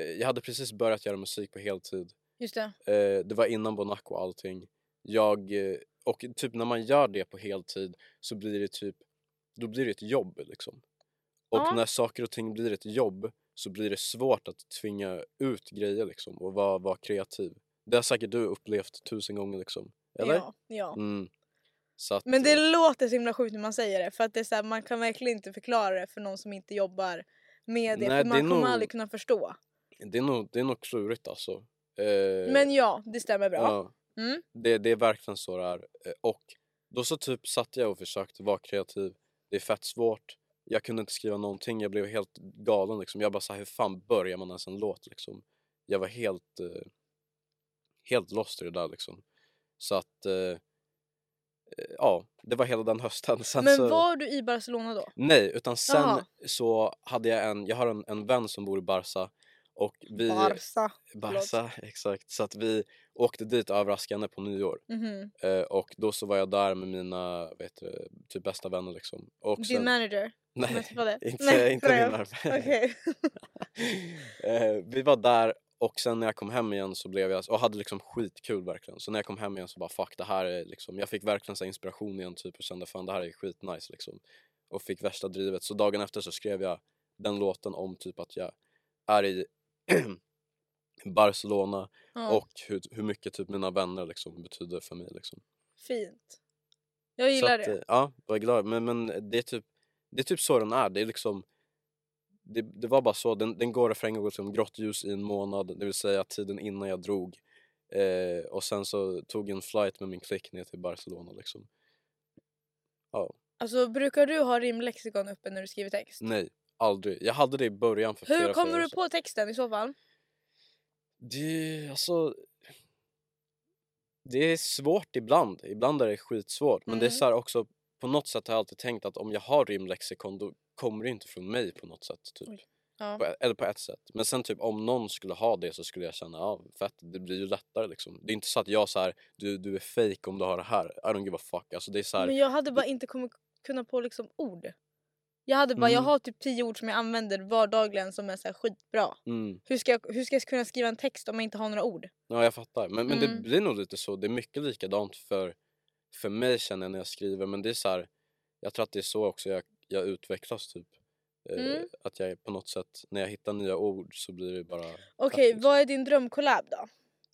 B: eh, Jag hade precis börjat göra musik på heltid.
A: just det.
B: Eh, det var innan Bonaco och allting. Jag, eh, och typ när man gör det på heltid så blir det typ, då blir det ett jobb liksom. Och
A: Ja.
B: när saker och ting blir ett jobb så blir det svårt att tvinga ut grejer liksom och vara, vara kreativ. Det har säkert du upplevt tusen gånger liksom. Eller?
A: Ja, ja.
B: Mm. Så att,
A: Men det
B: eh,
A: låter så himla sjukt när man säger det. För att det är så här, man kan verkligen inte förklara det för någon som inte jobbar med det.
B: Nej,
A: för
B: det är
A: man kommer
B: nog-
A: aldrig kunna förstå.
B: eh, det är nog, det är nog klurigt alltså. Eh,
A: Men ja, det stämmer bra.
B: ja.
A: Mm.
B: Det, det är verkligen så det är. Eh, Och då så typ satt jag och försökte vara kreativ. Det är fett svårt. Jag kunde inte skriva någonting. Jag blev helt galen liksom. Jag bara så här, hur fan börjar man ens en låt liksom? Jag var helt, eh, helt lost i det där liksom. Så att, eh, eh, ja, det var hela den hösten. [laughs] Sen
A: Men
B: så...
A: var du i Barcelona då?
B: Nej, utan sen
A: Jaha.
B: så hade jag en, jag har en, en vän som bor i Barca och vi,
A: Barca. förlåt.
B: Barca, exakt, så att vi åkte dit överraskande på nyår.
A: Mhm.
B: Eh, och då så var jag där med mina vet du, typ bästa vänner liksom. Och [laughs]
A: Din manager? som jag
B: nej,
A: träffade?
B: inte,
A: Nej,
B: inte
A: skojar.
B: min arm.
A: Okej.
B: [laughs] eh, vi var där och sen när jag kom hem igen så blev jag, och hade liksom skitkul verkligen. Så när jag kom hem igen så bara fuck det här är liksom, jag fick verkligen så här inspiration igen typ och kände fan det här är skitnice liksom. Och fick värsta drivet. Så dagen efter så skrev jag den låten om typ att jag är i [clears throat] Barcelona
A: Ja,
B: och hur, hur mycket typ mina vänner liksom betyder för mig liksom.
A: Fint. Jag
B: Så
A: gillar
B: att,
A: det.
B: eh, Ja, var glad. Men, men det, är typ, det är typ så den är. Det, är liksom, det, det var bara så. Den, den går refrängen går som grått ljus i en månad, det vill säga tiden innan jag drog. Eh, och sen så tog jag en flight med min klick ner till Barcelona. Liksom.
A: Alltså, brukar du ha rimlexikon uppe när du skriver text?
B: Nej, aldrig. Jag hade det i början. För
A: Hur
B: flera,
A: kommer
B: flera
A: du
B: år sedan.
A: på texten i så fall?
B: Det, alltså, det är svårt ibland. Ibland är det skitsvårt. Men det är
A: Mm.
B: så här också, på något sätt har jag alltid tänkt att om jag har rimlexikon då kommer det inte från mig på något sätt. Typ.
A: Oj. Ja.
B: På, eller på ett sätt. Men sen typ om någon skulle ha det så skulle jag känna ja fett det blir ju lättare liksom. Det är inte så att jag så här du, du är fake om du har det här. I don't give a fuck. Alltså det är så här,
A: Men jag hade bara inte kommit kunna på liksom ord. Jag hade bara, jag
B: Mm.
A: har typ tio ord som jag använder vardagligen som är så här skitbra.
B: mm,
A: Hur ska, jag, hur ska jag kunna skriva en text om jag inte har några ord?
B: ja jag fattar. Men, men det
A: Mm.
B: blir nog lite så. Det är mycket likadant för för mig känner jag när jag skriver men det är så här, jag tror att det är så också jag, jag utvecklas typ. Eh,
A: Mm.
B: Att jag på något sätt, när jag hittar nya ord så blir det bara...
A: Okej,
B: Faktiskt.
A: vad är din drömkollab då?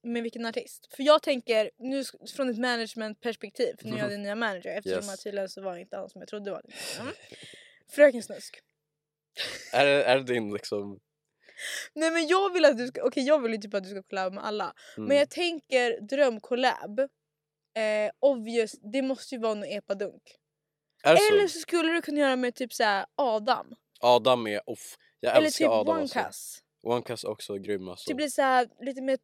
A: Med vilken artist? För jag tänker nu sk- från ett managementperspektiv, för nu
B: [laughs]
A: är jag din nya manager eftersom
B: Yes.
A: att tydligen så var inte han som jag trodde var det. Mm. Fröken Snusk.
B: Är, det- är det din liksom...
A: Nej men jag vill att du ska, okej jag vill ju typ att du ska collaba med alla.
B: Mm.
A: Men jag tänker drömkollab, eh, obvious, det måste ju vara någon epadunk.
B: är det
A: Eller
B: så?
A: så skulle du kunna göra med typ såhär Adam.
B: Adam är off. Jag
A: Eller
B: älskar
A: typ
B: Adam
A: One
B: alltså.
A: Cuss.
B: One Cuss också grym alltså.
A: Typ lite såhär, lite mer...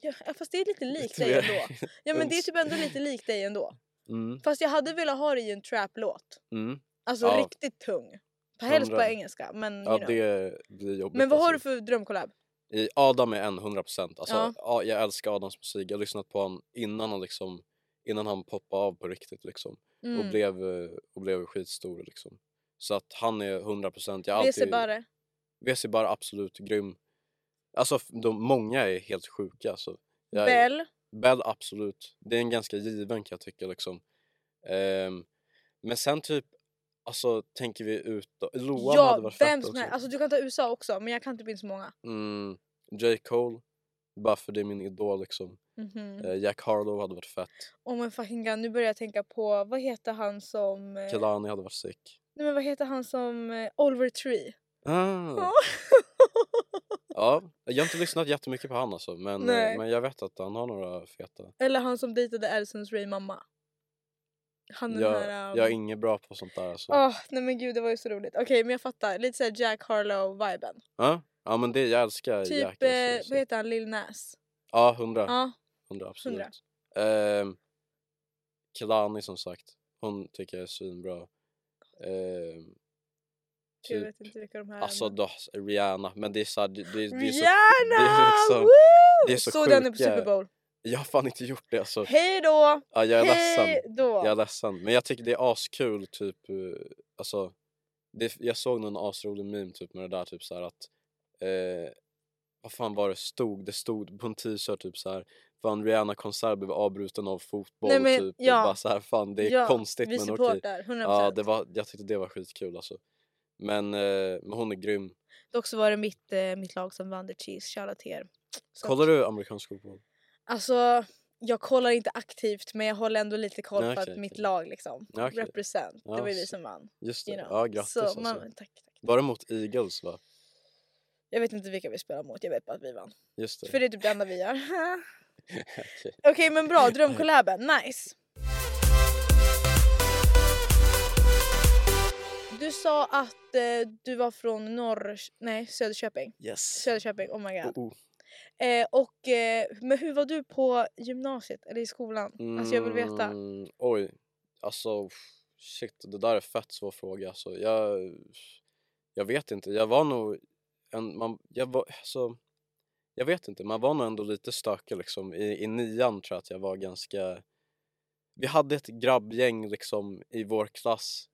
A: Ja, fast det är
B: [laughs]
A: lite likt dig
B: mer-
A: ändå. Ja men det är
B: uns.
A: typ ändå lite likt dig ändå.
B: Mm,
A: Fast jag hade velat ha det i en trap-låt.
B: mm.
A: Alltså
B: Ja.
A: riktigt tung. Helst på
B: Hundra.
A: engelska men you
B: Ja
A: know.
B: det blir jobbigt.
A: Men vad har du
B: alltså.
A: för drömkollab?
B: I Adam är en 100%. Alltså,
A: Ja.
B: ja. jag älskar Adams musik. Jag har lyssnat på honom innan han, liksom, innan han poppade av på riktigt liksom.
A: Mm.
B: Och, blev, eh, och blev skitstor liksom. Så att han är 100%. Jag har
A: Alltid...
B: alltid...
A: Bara.
B: WC bara absolut grym. Alltså f- de, många är helt sjuka. Alltså. Jag,
A: Bell.
B: Bell absolut. Det är en ganska given kan jag tycka liksom. Ehm, men sen typ, alltså tänker vi ut då. Loa hade
A: Ja,
B: varit fett
A: vem som
B: också.
A: helst. Alltså du kan ta USA också men jag kan typ inte så många.
B: Mm, J. Cole. Bara för det är min idol liksom.
A: Mhm.
B: Eh, Jack Harlow hade varit fett.
A: Oh my fucking god, nu börjar jag tänka på vad heter han som... eh,
B: Kelani hade varit sick.
A: Nej men vad heter han som... eh, Oliver Tree.
B: Ah, [laughs] ja, jag har inte lyssnat jättemycket på han alltså men, eh,
A: Nej.
B: men jag vet att han har några feta.
A: Eller han som dejtade Addisons Ray mamma. Han den
B: Jag,
A: här... ehm,
B: jag är inget bra på sånt där alltså.
A: Åh, nej men gud det var ju så roligt. Okej men jag fattar, lite såhär Jack Harlow-viben.
B: Ja, ja men det jag älskar
A: Typ,
B: Jack. Alltså,
A: eh, vad
B: så.
A: heter han, Lil Nas?
B: Ja, hundra.
A: Ja.
B: Hundra absolut. Ehm, Kelani som sagt. Hon tycker jag är svinbra. Ehm,
A: jag
B: typ,
A: vet inte vilka de här
B: alltså
A: är. men-
B: då, Rihanna. Men det är såhär, det, det, det är så...
A: Rihanna!
B: det är liksom-
A: Woo!
B: det är så
A: Såg du henne på
B: sjuka-
A: Super Bowl?
B: Jag har fan inte gjort det alltså.
A: Hej då!
B: Ja, jag är
A: Hej
B: ledsen.
A: då!
B: Jag är ledsen. Men jag tycker det är askul typ. eh, Alltså, det, jag såg någon asrolig meme typ med det där typ så här att. Eh, vad fan var det stod? Det stod på en t-shirt typ så här. Fan Rihanna konsert blev avbruten av fotboll
A: Nej, men,
B: typ.
A: ja.
B: Och bara så här, fan det är
A: Ja,
B: konstigt
A: Vi
B: men okej.
A: supportar, 100%.
B: Ja, det var, jag tyckte det var skitkul alltså. Men, eh, men hon är grym.
A: Dock så var det mitt, eh, mitt lag som vann the cheese, shoutout till er. Så
B: Kollar
A: att-
B: du amerikansk fotboll?
A: Alltså, jag kollar inte aktivt men jag håller ändå lite koll
B: Nej,
A: på
B: okej,
A: att mitt
B: okej.
A: lag liksom
B: Ja, okej.
A: represent.
B: Ja,
A: det var ju vi
B: så-
A: som vann.
B: Just det.
A: You know.
B: Ja, grattis
A: så,
B: alltså.
A: man, tack, tack.
B: Var det mot Eagles va?
A: Jag vet inte vilka vi spelar mot, jag vet bara att vi vann.
B: Just det.
A: För det är typ det enda vi gör. [laughs] Okej
B: [laughs] Okej.
A: men bra, drömkollaben, nice! Du sa att eh, du var från norr... Nej, Söderköping.
B: Yes.
A: Söderköping, oh my god.
B: Oh, oh.
A: Eh, och, eh, men hur var du på gymnasiet eller i skolan? Alltså jag vill veta.
B: Mm, Oj, alltså shit, det där är fett svår fråga. Alltså, jag, jag vet inte, jag var nog en, man, jag var, alltså, jag vet inte, man var nog ändå lite stökig liksom. I, I nian tror jag att jag var ganska, vi hade ett grabbgäng liksom i vår klass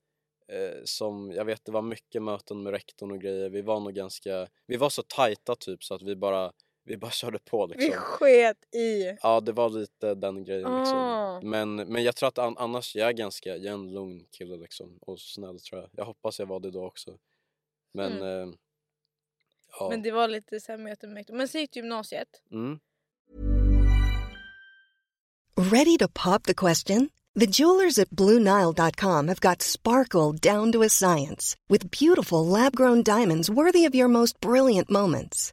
B: eh, som, jag vet det var mycket möten med rektorn och grejer. Vi var nog ganska, vi var så tajta typ så att vi bara, vi bara [laughs] körde på liksom.
A: Vi sket i.
B: Ja, det var lite den grejen liksom.
A: Ah.
B: Men, men jag tror att an- annars, jag är ganska, jag är en lugn kille liksom. Och snäll tror jag. Jag hoppas jag var det då också. Men, eh, ja.
A: Mm. Men det var lite så här möten med Men sen gick du gymnasiet.
B: Mm.
D: Ready to pop the question? The jewelers at BlueNile.com have got sparkle down to a science with beautiful lab grown diamonds worthy of your most brilliant moments.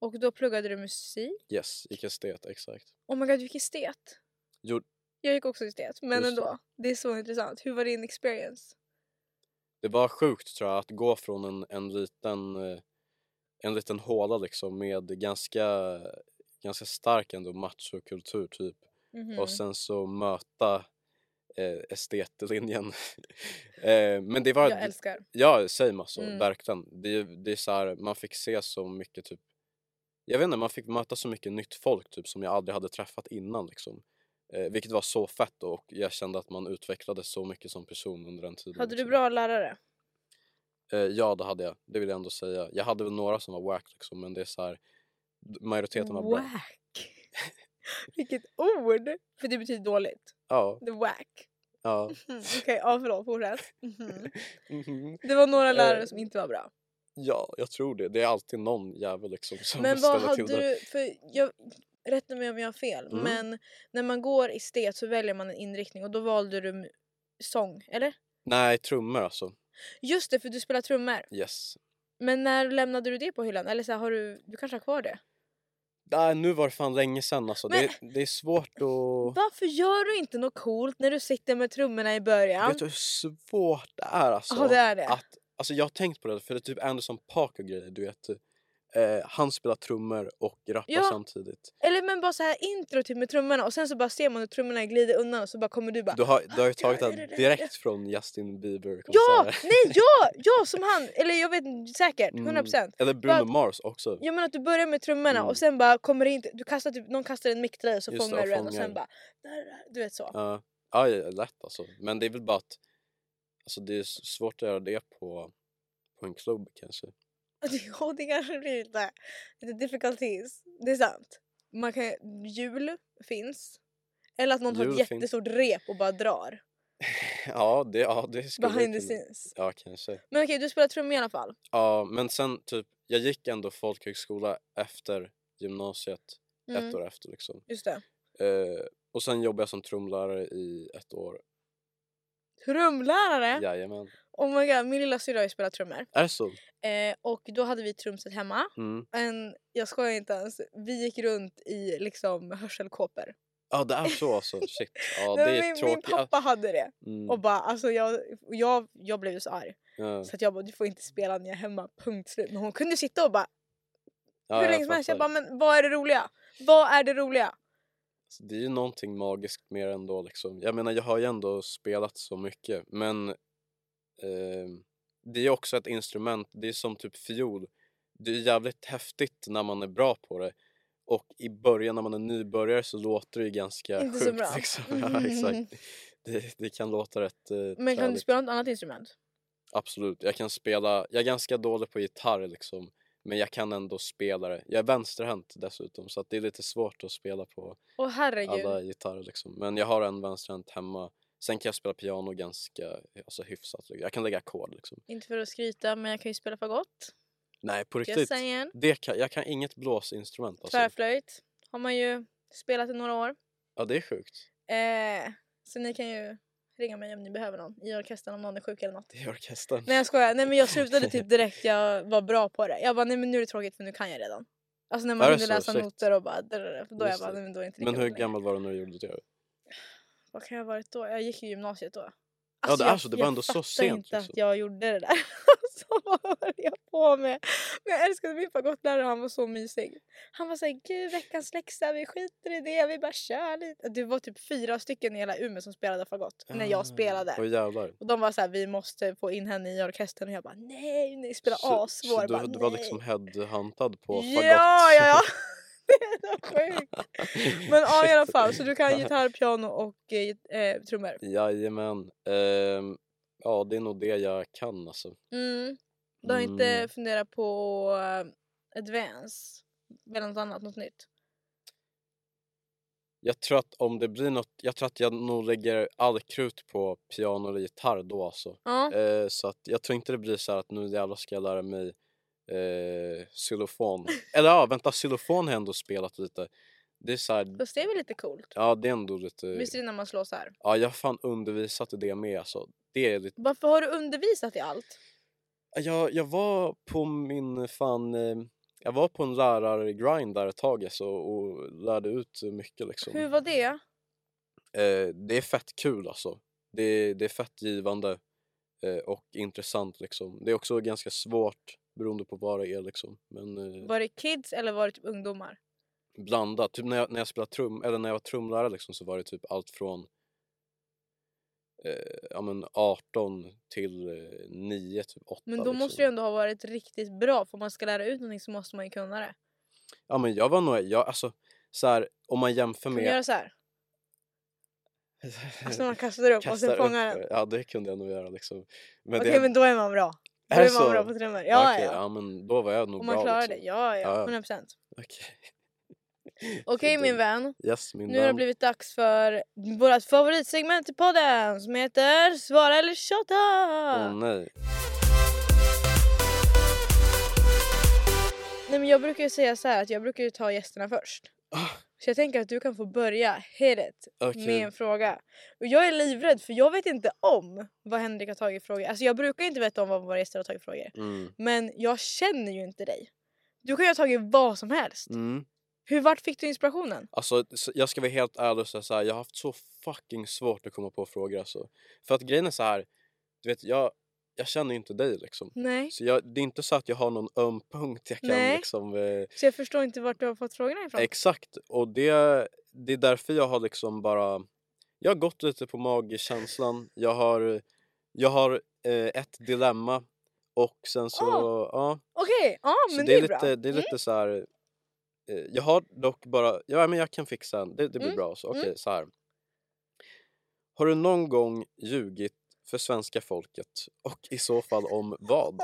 A: Och då pluggade du musik.
B: Yes, gick estet, exakt.
A: Oh my god, du gick estet.
B: Jo,
A: Jag gick också estet, men
B: Just det.
A: ändå. Det är så intressant. Hur var din experience?
B: det var sjukt tror jag att gå från en, en liten eh, en liten håla liksom med ganska ganska stark ändå machokultur typ
A: Mhm.
B: och sen så möta eh, estetlinjen. [laughs] eh, men det var
A: Jag älskar.
B: Ja, same alltså,
A: Mm.
B: verkligen. Det, är- det är så här, man fick se så mycket typ Jag vet inte, man fick möta så mycket nytt folk typ som jag aldrig hade träffat innan liksom. Eh, vilket var så fett och jag kände att man utvecklades så mycket som person under den tiden.
A: Hade du
B: liksom.
A: bra lärare?
B: Eh, ja, det hade jag. Det vill jag ändå säga. Jag hade väl några som var wack liksom, men det är så här d- majoriteten var bra.
A: Whack. [laughs] Vilket ord! För det betyder dåligt.
B: Ja,
A: The whack.
B: [laughs]
A: [laughs]
B: ja.
A: Mm, Okej, ja förlåt, fortsätt. Mhm.
B: Mhm.
A: Det var några lärare
B: Eh,
A: som inte var bra.
B: Ja, jag tror det. Det är alltid någon jävel liksom [laughs] som
A: Men vad
B: ställer
A: hade
B: till det.
A: du, för jag, rätta mig om jag har fel,
B: Mm.
A: men när man går estet så väljer man en inriktning och då valde du m- sång, eller?
B: Nej, trummor alltså.
A: Just det, för du spelar trummor.
B: Yes.
A: Men när lämnade du det på hyllan? Eller så här, har du, du kanske har kvar det?
B: Nej, Äh, nu var det fan länge sedan alltså.
A: Men-
B: Det, det är svårt att...
A: Varför gör du inte något coolt när du sitter med trummorna i början?
B: Vet du hur svårt det är alltså?
A: Ja, det är det.
B: Att, alltså jag har tänkt på det, för det är typ Anderson Park och grejer, du vet. Eh, han spelar trummor och rappar
A: Ja.
B: samtidigt.
A: Eller men bara så här intro till med trummorna och sen så bara ser man hur trummorna glider undan och så bara kommer du bara "Ah,
B: Du har, du har ju tagit
A: Ja,
B: det
A: det- det-
B: direkt från Justin Bieber
A: Ja!
B: konserter.
A: Nej
B: [laughs]
A: ja! Ja som han! Eller jag vet inte säkert, 100%
B: Mm. Eller Bruno
A: But-
B: Mars också.
A: Jag menar att du börjar med trummorna
B: Mm.
A: och sen bara kommer det inte, du kastar typ, någon kastar en mick till dig och så
B: Just det,
A: fångar
B: och
A: du den och sen
B: fångar.
A: bara där, där, du vet så.
B: Ja, ja, ja, lätt alltså. Men det är väl bara att alltså, det är s- svårt att göra det på, på en klubb
A: [laughs]
B: kanske.
A: Ja det kanske blir lite, lite difficulties, det är sant. Man kan, jul finns. Eller att någon har
B: Jul
A: ett
B: finns.
A: jättestort rep och bara drar.
B: Ja, det, ja, det skulle jag
A: Behind the
B: kunna-
A: scenes.
B: Ja, kanske.
A: Men okej, du spelar trummor i alla fall.
B: Ja, men sen typ, jag gick ändå folkhögskola efter gymnasiet, ett
A: Mm,
B: år efter liksom.
A: just det.
B: Eh, och sen jobbade jag som trumlärare i ett år.
A: Trumlärare!
B: Jajamän.
A: Oh my god, min lilla syrra har ju spelat trummor.
B: Är det så?
A: Eh, och då hade vi trumset hemma.
B: Mm.
A: En, jag skojar inte ens. Vi gick runt i liksom hörselkåpor.
B: Ja, det är så alltså. Shit. Ja, det
A: Nej, men
B: är
A: min, min
B: tråkigt.
A: pappa hade det.
B: Mm.
A: Och bara, alltså jag, jag, jag blev ju så arg.
B: Ja,
A: Så att jag bara, du får inte spela när jag är hemma. Punkt slut. Men hon kunde sitta och bara,
B: ja,
A: hur
B: jag
A: länge som helst. Jag
B: fattar.
A: bara, men vad är det roliga? Vad är det roliga?
B: Så Alltså, Det är ju någonting magiskt mer ändå liksom. Jag menar jag har ju ändå spelat så mycket men eh, det är också ett instrument, det är som typ fiol. Det är jävligt häftigt när man är bra på det och i början när man är nybörjare så låter det ju ganska
A: Inte så
B: sjukt
A: bra.
B: liksom. [laughs] Ja, exakt.
A: [laughs]
B: Det, det kan låta rätt eh,
A: Men kan du
B: träligt.
A: spela något annat instrument?
B: Absolut, jag kan spela, jag är ganska dålig på gitarr liksom men jag kan ändå spela det. Jag är vänsterhänt dessutom så att det är lite svårt att spela på
A: Åh herregud.
B: alla gitarrer liksom. Men jag har en vänsterhänt hemma. Sen kan jag spela piano ganska alltså, hyfsat. liksom. Jag kan lägga ackord liksom.
A: Inte för att skryta, men jag kan ju spela fagott.
B: Nej, på
A: Just
B: riktigt.
A: saying.
B: Det kan, jag kan inget blåsinstrument alltså.
A: Tvärflöjt har man ju spelat i några år.
B: Ja, det är sjukt.
A: Eh, så ni kan ju ringa mig om ni behöver någon i orkestern om någon är sjuk eller något.
B: Det är orkestern.
A: Nej jag skojar, nej men jag slutade typ direkt, jag var bra på det. Jag bara nej men nu är det tråkigt för nu kan jag redan. Alltså när man
B: Är det
A: hinner
B: så?
A: läsa
B: Shit.
A: noter och bara drrrr, för då är jag
B: Just
A: bara
B: det.
A: nej men då är det inte lika
B: Men hur
A: roligt längre.
B: gammal var du när du gjorde det?
A: Vad kan jag ha varit då? Jag gick ju gymnasiet då. Alltså,
B: det är
A: jag-
B: så, det var
A: jag
B: ändå så
A: fattar
B: sent,
A: inte
B: liksom.
A: att jag gjorde det där. [laughs] så vad höll jag på med? Men jag älskade min fagottlärare, han var så mysig. Han var såhär, gud veckans läxa, vi skiter i det, vi bara kör lite. Det var typ fyra stycken i hela Umeå som spelade fagott när
B: Ah,
A: jag spelade.
B: Åh jävlar.
A: Och de var såhär, vi måste få in henne i orkestern och jag bara nej, nej, spela
B: Så-
A: assvår.
B: Så
A: Bara,
B: du, du var
A: nej.
B: liksom headhuntad på fagott?
A: Ja, ja,
B: [laughs]
A: [laughs] ja. Det är så sjukt. Men ja, i alla
B: Shit.
A: fall. Så
B: [laughs]
A: du kan gitarr, piano och eh, git- eh, trummor.
B: Jajamän. Ehm, ja, det är nog det jag kan alltså.
A: Mm. Du har
B: Mm.
A: inte funderat på eh, advance? Eller något annat, något nytt?
B: Jag tror att om det blir något, jag tror att jag nog lägger all krut på piano eller gitarr då alltså.
A: Ja.
B: Eh, så att jag tror inte det blir så här att nu jävlar ska jag lära mig eh,
A: [laughs]
B: xylofon. Eller ja, vänta, xylofon har jag ändå spelat lite. Det är så här,
A: Fast det är väl lite coolt?
B: ja det är ändå lite...
A: Visst är det när man slår så här?
B: Ja, jag har fan undervisat i det med alltså. Det är lite...
A: Varför har du undervisat i allt?
B: Jag, jag var på min fan eh, Jag var på en lärargrind där ett tag alltså, och lärde ut mycket liksom.
A: Hur var det?
B: Eh, det är fett kul alltså. Det, det är fett givande eh, och intressant liksom. Det är också ganska svårt beroende på vad det är liksom. Men eh,
A: Var det kids eller var det typ ungdomar?
B: blandat. Typ när jag, när jag spelade trum, eller när jag var trumlärare liksom så var det typ allt från eh, ja men 18 till eh, 9, typ 8
A: Men då
B: liksom.
A: måste det ju ändå ha varit riktigt bra för om man ska lära ut någonting så måste man ju kunna det.
B: Ja men jag var nog, jag, alltså så här, om man jämför
A: Kan du
B: med [laughs]
A: göra så här? Alltså när man kastar upp och sen
B: Kastar upp,
A: fångar den.
B: eh, Ja det kunde jag nog göra liksom. Men
A: Okej
B: det,
A: men då är man bra. Då
B: Är det
A: är man
B: så?
A: bra på trummor. Ja,
B: okej,
A: ja.
B: men då var jag nog
A: Om man
B: bra
A: klarar
B: liksom.
A: det. Ja,
B: Ja, ja.
A: ja. 100%. Okej
B: Okej.
A: min vän.
B: Yes min
A: Nu har det
B: vän.
A: blivit dags för vårt favoritsegment i podden som heter Svara eller tjata!
B: Åh nej.
A: Nej men jag brukar ju säga så här att jag brukar ju ta gästerna först.
B: Ah.
A: Så jag tänker att du kan få börja hit it,
B: Okej.
A: med en fråga. Och jag är livrädd för jag vet inte om vad Henrik har tagit frågor. Alltså jag brukar inte veta om vad våra gäster har tagit frågor.
B: Mm.
A: Men jag känner ju inte dig. Du kan ju ha tagit vad som helst.
B: Mm.
A: Hur, vart fick du inspirationen?
B: Alltså s- jag ska vara helt ärlig och säga så här, jag har haft så fucking svårt att komma på frågor alltså. För att grejen är så här, du vet jag, jag känner ju inte dig liksom.
A: Nej.
B: Så jag, det är inte så att jag har någon öm punkt jag kan
A: Nej.
B: liksom eh,
A: Så jag förstår inte vart du har fått frågorna ifrån.
B: Exakt, och det, det är därför jag har liksom bara Jag har gått lite på magkänslan, jag har, jag har eh, ett dilemma och sen så, ja,
A: Okej, ja
B: så
A: men
B: det är,
A: bra. Mm.
B: lite, det är lite så här. eh, Jag har dock bara, ja men jag kan fixa en, det, det blir
A: Mm,
B: bra så, okej
A: mm.
B: så här. Har du någon gång ljugit för svenska folket och i så fall om
A: [laughs]
B: vad?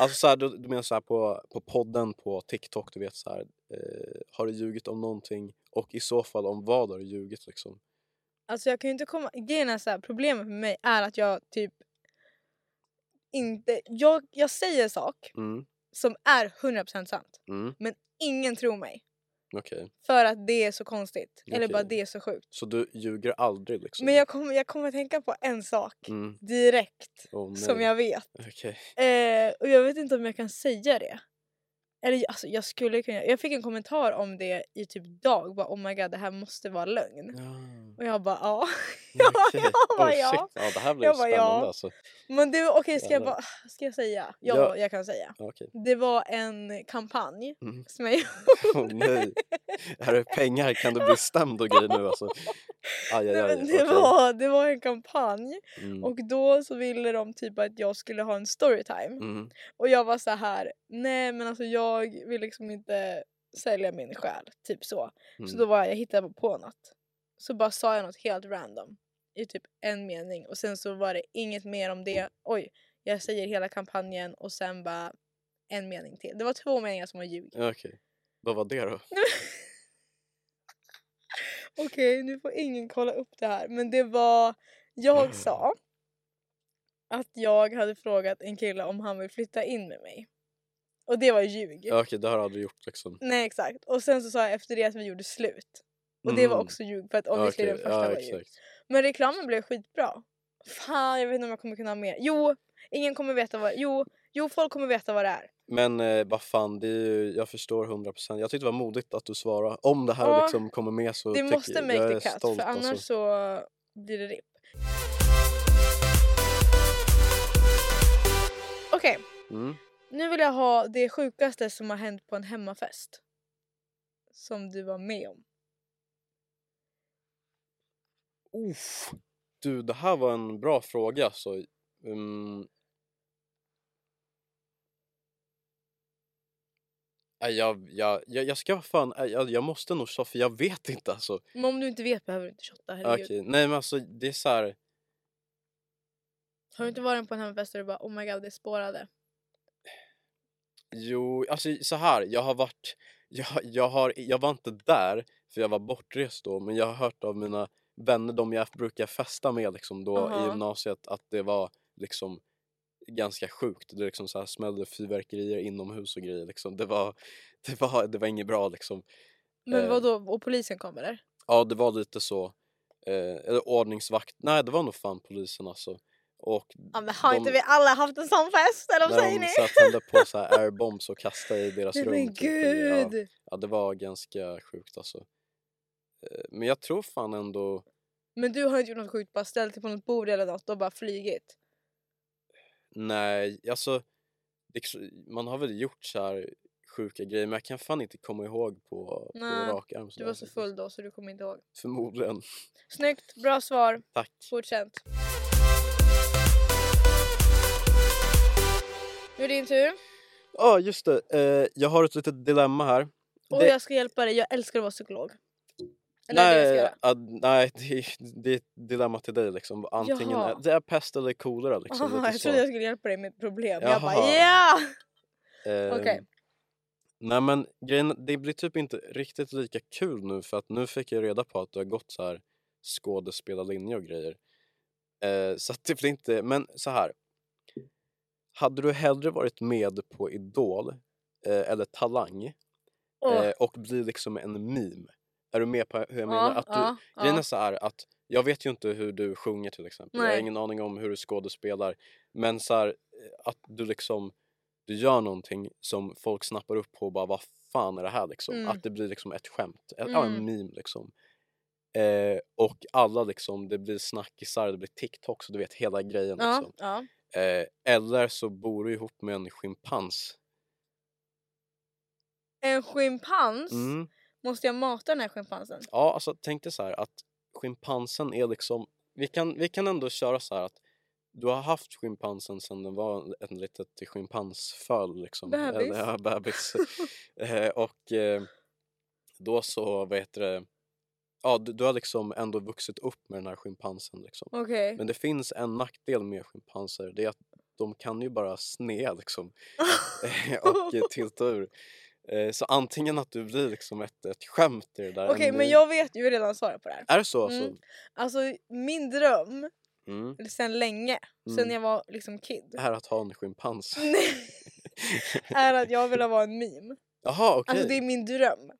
B: Alltså så här, du, du menar så här på, på podden på TikTok, du vet så här, eh, har du ljugit om någonting och i så fall om vad har du ljugit liksom?
A: Alltså jag kan ju inte komma... Grejen är så här, problemet med mig är att jag typ inte... Jag, jag säger en sak
B: Mm,
A: som är 100% sant.
B: mm,
A: Ingen tror mig.
B: okej.
A: För att det är så konstigt. Eller
B: Okej.
A: bara det är så sjukt.
B: Så du ljuger aldrig liksom?
A: Men jag kommer, jag kommer att tänka på en sak
B: Mm,
A: direkt
B: oh, nej.
A: som jag vet.
B: Okej,
A: Eh, och jag vet inte om jag kan säga det. Eller alltså, jag skulle kunna. Jag fick en kommentar om det i typ dag. Bara, oh my god det här måste vara lögn.
B: ja.
A: Och jag bara ja. [laughs] Ja,
B: okej.
A: jag bara,
B: oh,
A: ja.
B: [laughs] shit. ja. Det här blir
A: Jag bara, ja.
B: spännande alltså.
A: Men du okej ska jag
B: Jävlar.
A: bara, [sighs] ska jag säga? Ja,
B: Ja.
A: jag kan säga.
B: Ja, Okej. [laughs]
A: Det var en kampanj
B: Mm.
A: som jag
B: Åh nej. Här är pengar, kan du bli stämd och grejer nu alltså? Aj, aj, aj.
A: Nej, men [laughs] det,
B: okej.
A: var, det var en kampanj
B: Mm.
A: och då så ville de typ att jag skulle ha en storytime.
B: Mm.
A: Och jag var så här, nej men alltså jag vill liksom inte sälja min själ, typ så. Så
B: Mm.
A: då var jag, jag hittade på något. Så bara sa jag något helt random i typ en mening och sen så var det inget mer om det. Oj, jag säger hela kampanjen och sen bara en mening till. Det var två meningar som var ljug.
B: Okej. Vad var det då?
A: Okej, nu får ingen kolla upp det här. Men det var... [clears throat] Jag sa att jag hade frågat en kille om han vill flytta in med mig. Och det var ljug.
B: Ja, Okej, det har jag aldrig gjort liksom.
A: Nej, exakt. Och sen så sa jag efter det att vi gjorde slut. Och det var
B: Mm.
A: också ljug för att
B: Ja,
A: obviously
B: okej.
A: den första
B: ja,
A: var ljug.
B: exakt.
A: Men reklamen blev skitbra. Fan, jag vet inte om jag kommer kunna ha mer. Jo, ingen kommer veta vad... Jo, jo folk kommer veta vad det är.
B: Men eh, vad fan, det är ju, jag förstår 100%. Jag tyckte det var modigt att du svarade. Om det här
A: Ja,
B: liksom kommer med så
A: Det
B: tycker
A: måste
B: jag
A: make
B: är
A: the cut
B: stolt
A: för annars
B: alltså.
A: så blir det ripp. Okej,
B: Mm.
A: nu vill jag ha det sjukaste som har hänt på en hemmafest. Som du var med om.
B: Uff. Du, det här var en bra fråga så. Um... Äh, Jag, jag, jag, jag ska fan, nej, jag, jag måste nog så för jag vet inte alltså.
A: Men om du inte vet behöver du inte shotta, herregud.
B: Okej, nej men alltså det är så här.
A: Har du inte varit på en hemmafest och du bara oh my god det spårade?
B: Jo, alltså så här, jag har varit, [laughs] jag, jag, har, jag var inte där för jag var bortrest då men jag har hört av mina vänner, de jag brukar festa med liksom då
A: Aha.
B: i gymnasiet att det var liksom ganska sjukt. Det liksom så här smällde fyrverkerier inomhus och grejer liksom. Det var, [laughs] det var, det var inget bra liksom.
A: Men
B: Eh.
A: vad då? och polisen kom eller?
B: Ja, det var lite så. Eh, eller ordningsvakt, nej det var nog fan polisen alltså. Och
A: Ja, men har
B: de-
A: inte vi alla haft en sån fest? Eller vad
B: när
A: säger
B: de
A: ni?
B: så här tände på så
A: [laughs]
B: här airbombs och kastade i deras
A: Nej,
B: rum.
A: men
B: typ. Ja,
A: gud!
B: ja, det var ganska sjukt alltså. Eh, Men jag tror fan ändå...
A: Men du har inte gjort något sjukt, bara ställt dig på något bord eller något och bara flygit.
B: Nej, alltså det, man har väl gjort så här sjuka grejer men jag kan fan inte komma ihåg på, på
A: Nej,
B: rak arm.
A: Du
B: sådär,
A: var så
B: faktiskt.
A: full då så du kommer inte ihåg.
B: Förmodligen.
A: Snyggt, bra svar.
B: Tack.
A: Godkänt. Nu är det din tur.
B: Ja, just det. Eh, jag har ett litet dilemma här.
A: Och
B: Det-
A: jag ska hjälpa dig, jag älskar att vara psykolog. Eller nej, det jag ska göra.
B: ah, nej det, är- det är ett dilemma till dig liksom. Antingen
A: Jaha.
B: är, det är pest eller kolera
A: [laughs]
B: liksom.
A: Aha,
B: lite
A: jag
B: så.
A: trodde jag skulle hjälpa dig med ett problem. Jag bara
B: Jaha.
A: ja!
B: Ehm,
A: Okej.
B: Nej men grejen, det blir typ inte riktigt lika kul nu för att nu fick jag reda på att du har gått så här skådespelarlinje och grejer. Eh, så att det blir inte, men så här. Hade du hellre varit med på Idol eh, eller Talang
A: Åh,
B: eh, och bli liksom en meme? Är du med på hur jag
A: ja,
B: menar? Att du,
A: ja, ja.
B: Grejen är så här att jag vet ju inte hur du sjunger till exempel. Jag har
A: Nej.
B: ingen aning om hur du skådespelar. Men så här, eh, att du liksom du gör någonting som folk snappar upp på och bara vad fan är det här liksom?
A: Mm.
B: Att det blir liksom ett skämt, ett, ja, en
A: Mm.
B: meme liksom. Eh, och alla liksom, det blir snackisar, det blir TikToks och du vet hela grejen
A: ja,
B: liksom.
A: ja.
B: Eh, eller så bor du ihop med en schimpans.
A: En schimpans?
B: Mm.
A: Måste jag mata den här schimpansen?
B: Ja, alltså tänk dig så här att schimpansen är liksom... Vi kan, vi kan ändå köra så här att du har haft schimpansen sedan den var en, en litet schimpansföl. Liksom.
A: Bebis.
B: Eller, Ja,
A: [laughs]
B: bebis. eh, och eh, då så, vad heter det? Ja, du, du har liksom ändå vuxit upp med den här schimpansen. Liksom.
A: Okej. [laughs]
B: Men det finns en nackdel med schimpanser. Det är att de kan ju bara snea liksom. [laughs] Eh, och
A: [laughs]
B: eh, tilta ur. Eh, Så antingen att du blir liksom ett, ett skämt i det där.
A: Okej,
B: en
A: men
B: ny-
A: jag vet ju redan svaret på det här.
B: är det så alltså?
A: Mm. Alltså min dröm,
B: Mm.
A: sen länge, sen
B: Mm.
A: jag var liksom kid,
B: Är att ha en
A: [laughs]
B: schimpans?
A: Nej. [laughs] är att jag vill vara en meme.
B: [laughs] Jaha Ah. okej.
A: Alltså det är min dröm.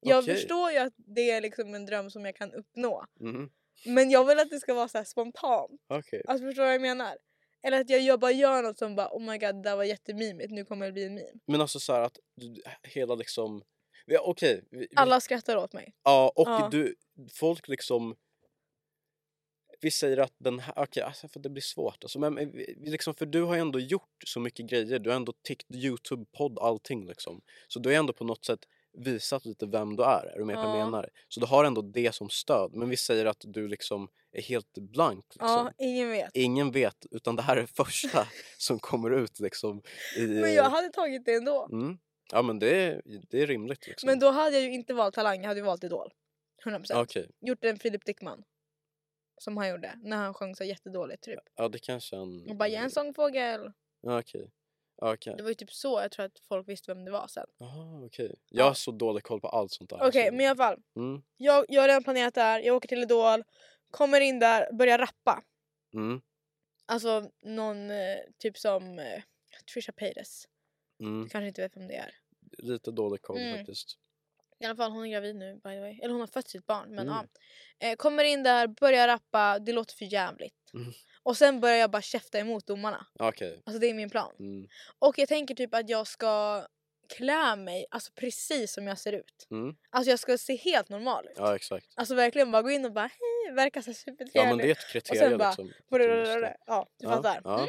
A: Jag
B: Okej.
A: förstår ju att det är liksom en dröm som jag kan uppnå.
B: Mm.
A: Men jag vill att det ska vara så här spontant.
B: Okej.
A: Alltså förstår du vad jag menar? Eller att jag gör- bara gör något som bara oh my god det där var jättemimigt, nu kommer det bli en meme.
B: Men alltså så här att du, hela liksom... Ja, okej. vi- vi-
A: Alla skrattar åt mig.
B: Ja och
A: Ja.
B: du, folk liksom... Vi säger att den här, okej alltså för det blir svårt alltså, men men vi- vi liksom, för du har ju ändå gjort så mycket grejer, du har ändå tickt Youtube, podd, allting liksom. Så du har ju ändå på något sätt visat lite vem du är, är du med på vad
A: Ja.
B: jag menar? Så du har ändå det som stöd, men vi säger att du liksom är helt blank liksom.
A: Ja, ingen vet.
B: ingen vet utan det här är första
A: [laughs]
B: som kommer ut liksom. I,
A: Men jag hade tagit det ändå.
B: mm. Ja men det är, det är rimligt liksom.
A: Men då hade jag ju inte valt Talang, jag hade ju valt Idol. 100%.
B: Okej,
A: Gjort en Filip Dickman. Som han gjorde när han sjöng så jättedåligt typ.
B: ja det kanske är en...
A: Och bara jag är en sångfågel.
B: Ja, Okej. Ja, Okej.
A: Det var ju typ så jag tror att folk visste vem det var sen.
B: Jaha, okej. Jag har så dålig koll på allt sånt där.
A: Okej
B: så-
A: men i alla fall.
B: Mm,
A: Jag, jag har redan planerat det här, jag åker till Idol. Kommer in där, börjar rappa.
B: mm,
A: Alltså någon eh, typ som eh, Trisha Paytas.
B: mm.
A: Du kanske inte vet vem det är.
B: Lite dålig koll
A: Mm.
B: faktiskt.
A: I alla fall hon är gravid nu by the way. Eller hon har fött sitt barn. Men
B: Mm.
A: ja. eh, kommer in där, börjar rappa, det låter för jävligt.
B: Mm.
A: Och sen börjar jag bara käfta emot domarna.
B: Ja, Okej.
A: Alltså det är min plan.
B: Mm,
A: Och jag tänker typ att jag ska klä mig alltså precis som jag ser ut.
B: mm.
A: Alltså jag ska se helt normal ut.
B: Ja exakt.
A: Alltså verkligen bara gå in och bara hej, verkar så supertrevlig.
B: Ja men det är ett kriterium
A: bara-
B: liksom. att du
A: Blablabla.
B: måste-
A: Ja, du
B: Ja,
A: fattar.
B: ja.
A: Mm.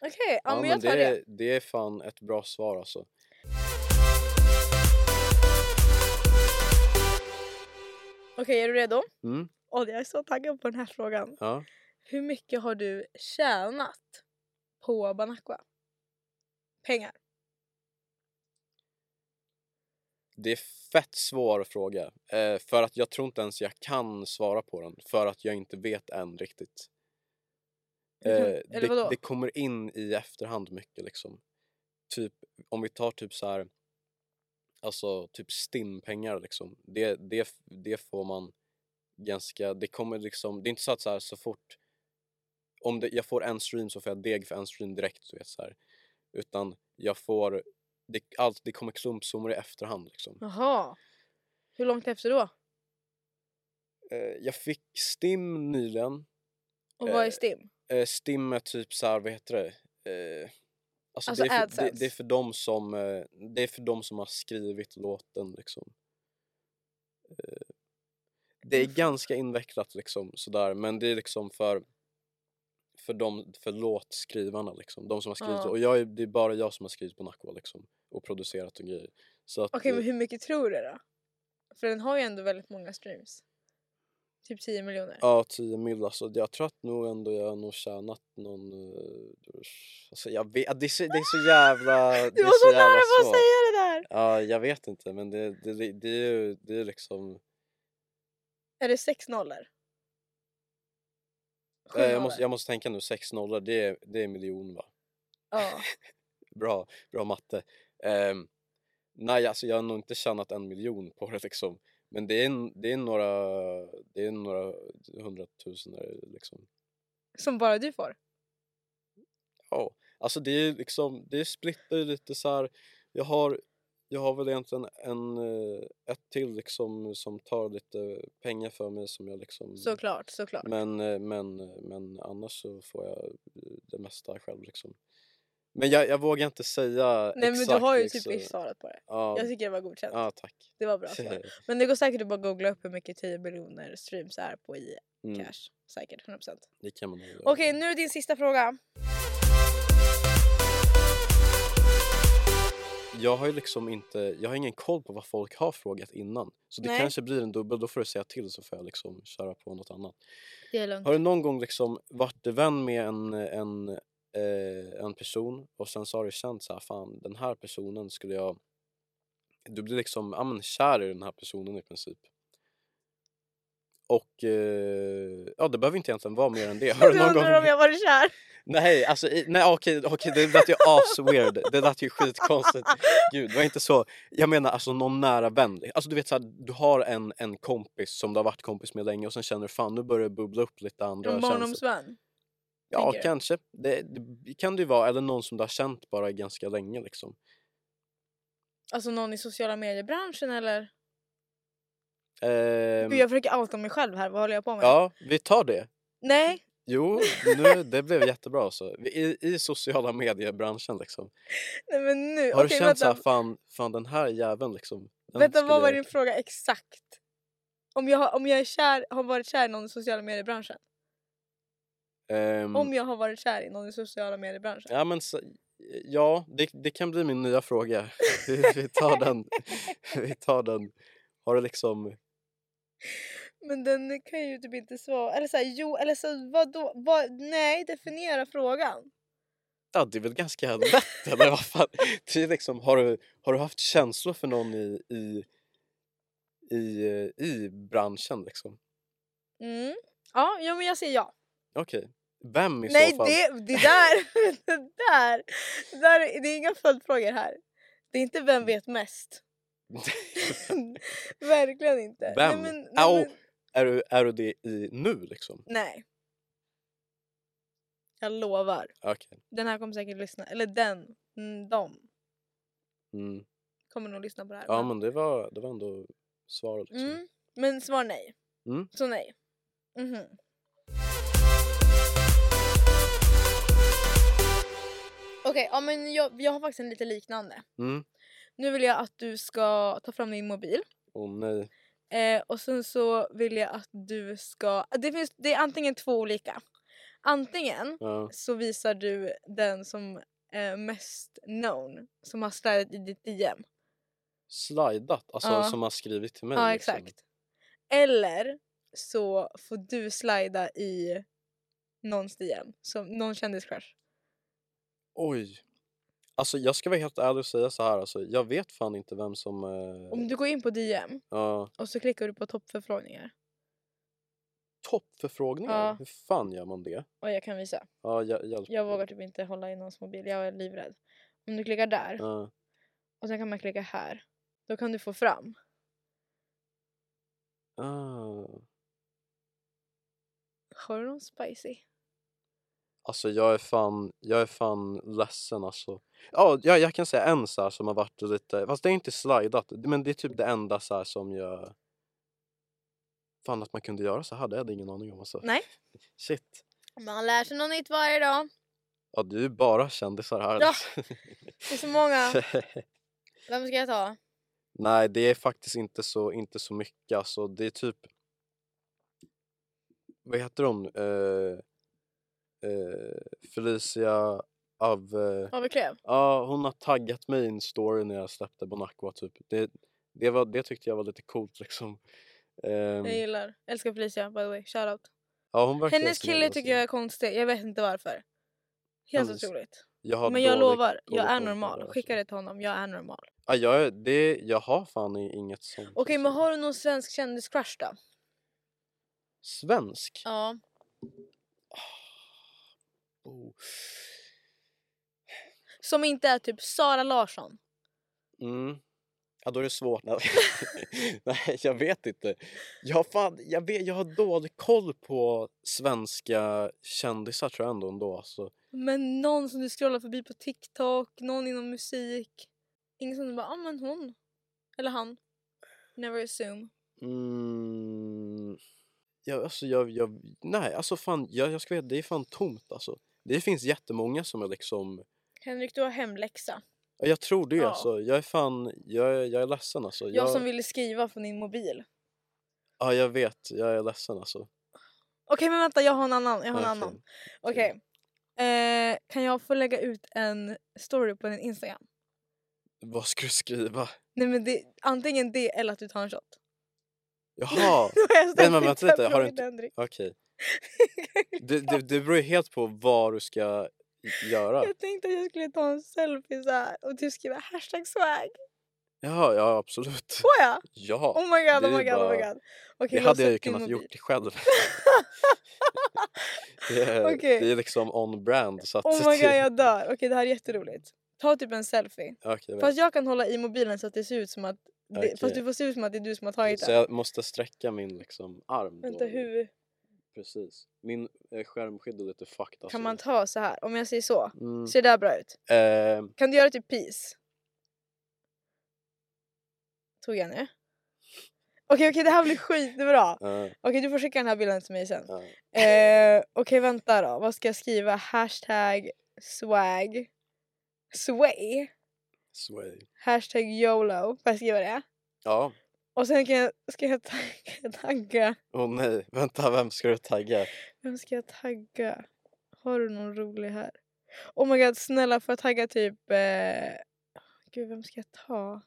A: Okej, ja, men jag tar
B: det,
A: det.
B: är- det är fan ett bra svar alltså.
A: Okej, är du redo?
B: Mm,
A: Åh, jag är så taggad på den här frågan.
B: ja.
A: Hur mycket har du tjänat på Banacqua? Pengar.
B: Det är fett svår fråga. Eh, för att jag tror inte ens jag kan svara på den. För att jag inte vet än riktigt.
A: Du kan-
B: Eh,
A: eller vadå?
B: det, det kommer in i efterhand mycket liksom. Typ, om vi tar typ så här, alltså typ stimpengar liksom. Det, det, det får man ganska, det kommer liksom, det är inte så att så, här, så fort om det, jag får en stream så får jag deg för en stream direkt du vet så här. Utan jag får, det, allt, det kommer klumpsummor i efterhand liksom.
A: Jaha. Hur långt efter då?
B: Eh, jag fick stim nyligen.
A: Och vad är
B: Eh,
A: STIM?
B: eh, Stim är typ så här, vad heter det? Eh, alltså
A: Alltså
B: det, är för, det,
A: AdSense.
B: det är för dem som eh, det är för dem som har skrivit låten liksom. Eh, det
A: Mm.
B: är ganska invecklat liksom sådär men det är liksom för för dem, för låtskrivarna liksom. De som har skrivit
A: Ja.
B: och jag är, det är bara jag som har skrivit på Nacka liksom och producerat och grejer. Så att,
A: Okej,
B: eh,
A: men hur mycket tror du då? För den har ju ändå väldigt många streams. Typ 10 miljoner.
B: Ja, 10 mil alltså. Jag tror att nog ändå jag har nog tjänat någon... eh, Alltså jag vet, det är så, det är så jävla... det
A: [laughs] du
B: är
A: var så
B: jävla
A: nära på att
B: svårt.
A: säga det där!
B: Ja, jag vet inte men det, det, det, det är ju det är liksom...
A: Är det sex nollor? Sju
B: Eh, jag,
A: nollor?
B: måste, jag måste tänka nu, 6 nollor det är, det är miljon va?
A: Ja.
B: Bra, bra matte. Ehm, nej alltså jag har nog inte tjänat en miljon på det liksom. Men det är, en- det är några, det är några hundratusen liksom.
A: Som bara du får?
B: Ja, alltså det är liksom, det splittar ju lite så här. Jag har, jag har väl egentligen en, eh, ett till liksom som tar lite pengar för mig som jag liksom.
A: Såklart, såklart.
B: Men, eh, men, eh, men annars så får jag eh, det mesta själv liksom. Men jag, jag vågar inte säga
A: Nej men
B: exakt.
A: du har ju typ
B: liksom.
A: visst svarat på det.
B: Ja,
A: Jag tycker det var godkänt.
B: ja tack.
A: Det
B: [laughs]
A: var bra svar. Men det går säkert att bara googla upp hur mycket 10 miljoner streams är på i
B: Mm,
A: cash. Säkert, 100%.
B: det kan man nog göra.
A: Okej, nu din sista fråga.
B: Jag har ju liksom inte, jag har ingen koll på vad folk har frågat innan. Så det
A: Nej.
B: kanske blir en dubbel, då får du säga till så får jag liksom köra på något annat.
A: Det är lugnt.
B: Har du någon gång liksom varit vän med en, en, eh, en person och sen så har du känt så här, fan den här personen skulle jag... Du blir liksom ja, men, kär i den här personen i princip. Och eh, ja, det behöver inte egentligen vara mer än det.
A: [laughs]
B: Har
A: Du
B: du någon gång...
A: undrar om jag varit kär?
B: Nej, alltså, i... nej okej, okej det lät ju as-weird. Det lät ju skitkonstigt. Gud, det var inte så. Jag menar alltså någon nära vän. Alltså du vet så här, du har en, en kompis som du har varit kompis med länge och sen känner du fan nu börjar det bubbla upp lite andra
A: En
B: känslor.
A: barndomsvän?
B: Ja,
A: tänker du?
B: kanske. Det, det kan det ju vara. Eller någon som du har känt bara ganska länge liksom.
A: Alltså någon i sociala mediebranschen eller?
B: Ehm,
A: Gud, jag försöker outa mig själv här, vad håller jag på med?
B: Ja, vi tar det.
A: Nej,
B: Jo, nu, det blev jättebra alltså. Vi- I, i sociala mediebranschen liksom.
A: nej men nu.
B: Har
A: Okej,
B: du känt
A: vänta.
B: såhär, fan, fan den här jäveln liksom. den
A: Vänta,
B: skulle
A: vad var
B: jag-
A: din fråga exakt? Om jag, har- om jag är kär, har varit kär i någon i sociala mediebranschen?
B: Ehm,
A: Om jag har varit kär i någon i sociala mediebranschen?
B: Ja, men så, ja det, det kan bli min nya fråga. [laughs] Vi, vi tar den. [laughs] vi tar den. Har du liksom...
A: Men den kan jag ju typ inte svara. Eller såhär, jo, eller så vadå? Vad, nej, definiera frågan.
B: Ja, det är väl ganska lätt eller vad fan? [laughs] Det är liksom, har, du, har du haft känslor för någon i, i, i, eh, i branschen liksom?
A: Mm. Ja, ja, men jag säger ja.
B: Okej. Vem i
A: nej,
B: så fall?
A: det, det där, [laughs] det där, det där, det är inga följdfrågor här. Det är inte vem vet mest. [laughs] Verkligen inte.
B: [laughs] Vem?
A: Nej, men, nej,
B: Au.
A: men,
B: Är, du, är du det i nu liksom?
A: nej. Jag lovar.
B: Okej.
A: Den här kommer säkert lyssna. Eller den. Mm, de
B: Mm.
A: kommer nog lyssna på det här.
B: Ja men det var, det var ändå svaret liksom.
A: mm, men svar nej.
B: Mm.
A: Så nej. Mhm. Okej, ja, men jag, jag har faktiskt en lite liknande.
B: Mm.
A: Nu vill jag att du ska ta fram din mobil.
B: Åh nej.
A: Eh, och sen så vill jag att du ska... Det, finns, det är antingen två olika. Antingen
B: Ja.
A: så visar du den som är mest known. Som har slidat i ditt DM.
B: Slidat, alltså
A: Ja.
B: som har skrivit till mig.
A: Ja,
B: liksom.
A: exakt. Eller så får du slida i någons DM, som någon kändiscrush.
B: Oj. Alltså jag ska vara helt ärlig och säga så här alltså, jag vet fan inte vem som... Eh,
A: Om du går in på DM
B: ja.
A: och så klickar du på toppförfrågningar.
B: toppförfrågningar?
A: Ja.
B: Hur fan gör man det?
A: Och jag kan visa.
B: Ja, jag, hjälp.
A: Jag vågar typ inte hålla i någons mobil, jag är livrädd. Om du klickar där
B: Ja.
A: och sen kan man klicka här. Då kan du få fram.
B: Ah.
A: Har du någon spicy?
B: Alltså jag är fan, jag är fan ledsen alltså. Ja, jag, jag kan säga en så här som har varit lite, fast det är inte slidat, men det är typ det enda så här som jag... Fan att man kunde göra så här, det hade jag ingen aning om alltså.
A: Nej.
B: Shit.
A: Man lär sig något nytt varje dag.
B: Ja, du är bara kändisar här. [laughs]
A: Ja, Det är så många. Vem ska jag ta?
B: Nej, det är faktiskt inte så, inte så mycket. Alltså, det är typ... Vad heter hon? Eh, eh, Felicia av... eh,
A: Vad vi klev?
B: Ja, hon har taggat mig i en story när jag släppte Bon Aqua typ. Det, det, var, det tyckte jag var lite coolt liksom. Ehm,
A: Jag gillar. Älskar Felicia by the way. Shoutout.
B: ja, hon verkar
A: Hennes
B: så
A: kille
B: jävla
A: tycker
B: snäll.
A: jag är konstig. Jag vet inte varför. Helt
B: Hennes-
A: otroligt.
B: Jag har
A: Men jag
B: dålig-
A: lovar,
B: dålig
A: jag är
B: koll på alltså. det
A: normal.
B: där,
A: Skicka
B: så-
A: det till honom. Jag är normal.
B: Ja, jag, är- det, jag har fan i- inget sånt.
A: Okej,
B: alltså.
A: men har du någon svensk kändiscrush då?
B: Svensk?
A: Ja.
B: Oh.
A: Som inte är typ Sara Larsson.
B: Mm. Ja, då är det svårt. [laughs] Nej, Nej, jag vet inte. Jag har, fan, jag, vet, jag har dålig koll på svenska kändisar tror jag ändå. ändå alltså.
A: Men någon som du scrollar förbi på TikTok, någon inom musik. Ingen som du bara, ah men hon. Eller han. Never assume.
B: Mm. Ja, alltså, jag, jag, nej, alltså fan, jag, jag ska veta, det är fan tomt alltså. Det finns jättemånga som är liksom,
A: Henrik, du har hemläxa.
B: ja, jag tror det
A: Ja.
B: alltså. Jag är fan, jag, är- jag är ledsen alltså.
A: Jag som ville skriva från din mobil.
B: Ja, jag vet, jag är ledsen alltså.
A: Okej, men vänta, jag har en annan. Jag har en
B: Ja,
A: annan.
B: fan.
A: Okej. Eh, kan jag få lägga ut en story på din Instagram?
B: Vad ska du skriva?
A: Nej men det, antingen det eller att du tar en shot. [laughs]
B: Jaha!
A: Då har jag ställt
B: men
A: in
B: vänta
A: fem
B: lite, har du
A: frågor
B: inte-
A: till Henrik. [laughs]
B: Okej. Det, det, det beror ju helt på vad du ska göra.
A: Jag tänkte att jag skulle ta en selfie så här och du skriver hashtag swag.
B: Ja, ja absolut.
A: Får jag?
B: [laughs] Ja,
A: Oh my god,
B: det
A: oh
B: är
A: my god, oh my
B: bara-
A: god. Okej,
B: det
A: lås
B: hade jag
A: upp
B: ju
A: din
B: kunnat
A: mobil.
B: gjort själv. [laughs] Det är,
A: Okej.
B: det är liksom on brand.
A: [laughs]
B: Så att
A: Oh my god,
B: det- [laughs]
A: jag dör. Okej, det här är jätteroligt. Ta typ en selfie.
B: Okej,
A: Fast jag kan hålla i mobilen så att det ser ut som att... Det,
B: Okej.
A: Fast du får se ut som att det är du som har
B: vänta.
A: tagit
B: Så
A: den.
B: jag måste sträcka min liksom, arm. då.
A: Vänta, hur
B: Precis. Min eh, skärmskydd är lite fucked. Alltså.
A: kan man ta så här? Om jag säger så.
B: Mm.
A: Ser det där bra ut?
B: Eh,
A: Kan du göra typ peace? Tog jag nu? Okej, okej, det här blir skitbra.
B: eh,
A: Okej, du får skicka den här bilden till mig sen.
B: eh.
A: Eh, Okej, vänta då. Vad ska jag skriva? Hashtag swag. Sway.
B: Sway.
A: Hashtag YOLO. Får jag skriva det?
B: Ja.
A: Och sen kan jag, ska jag tagga, [laughs] tagga.
B: Åh nej, [laughs] vänta vem ska du tagga?
A: Vem ska jag tagga? Har du någon rolig här? Oh my god, snälla får jag tagga typ... Eh... Gud, vem ska jag ta?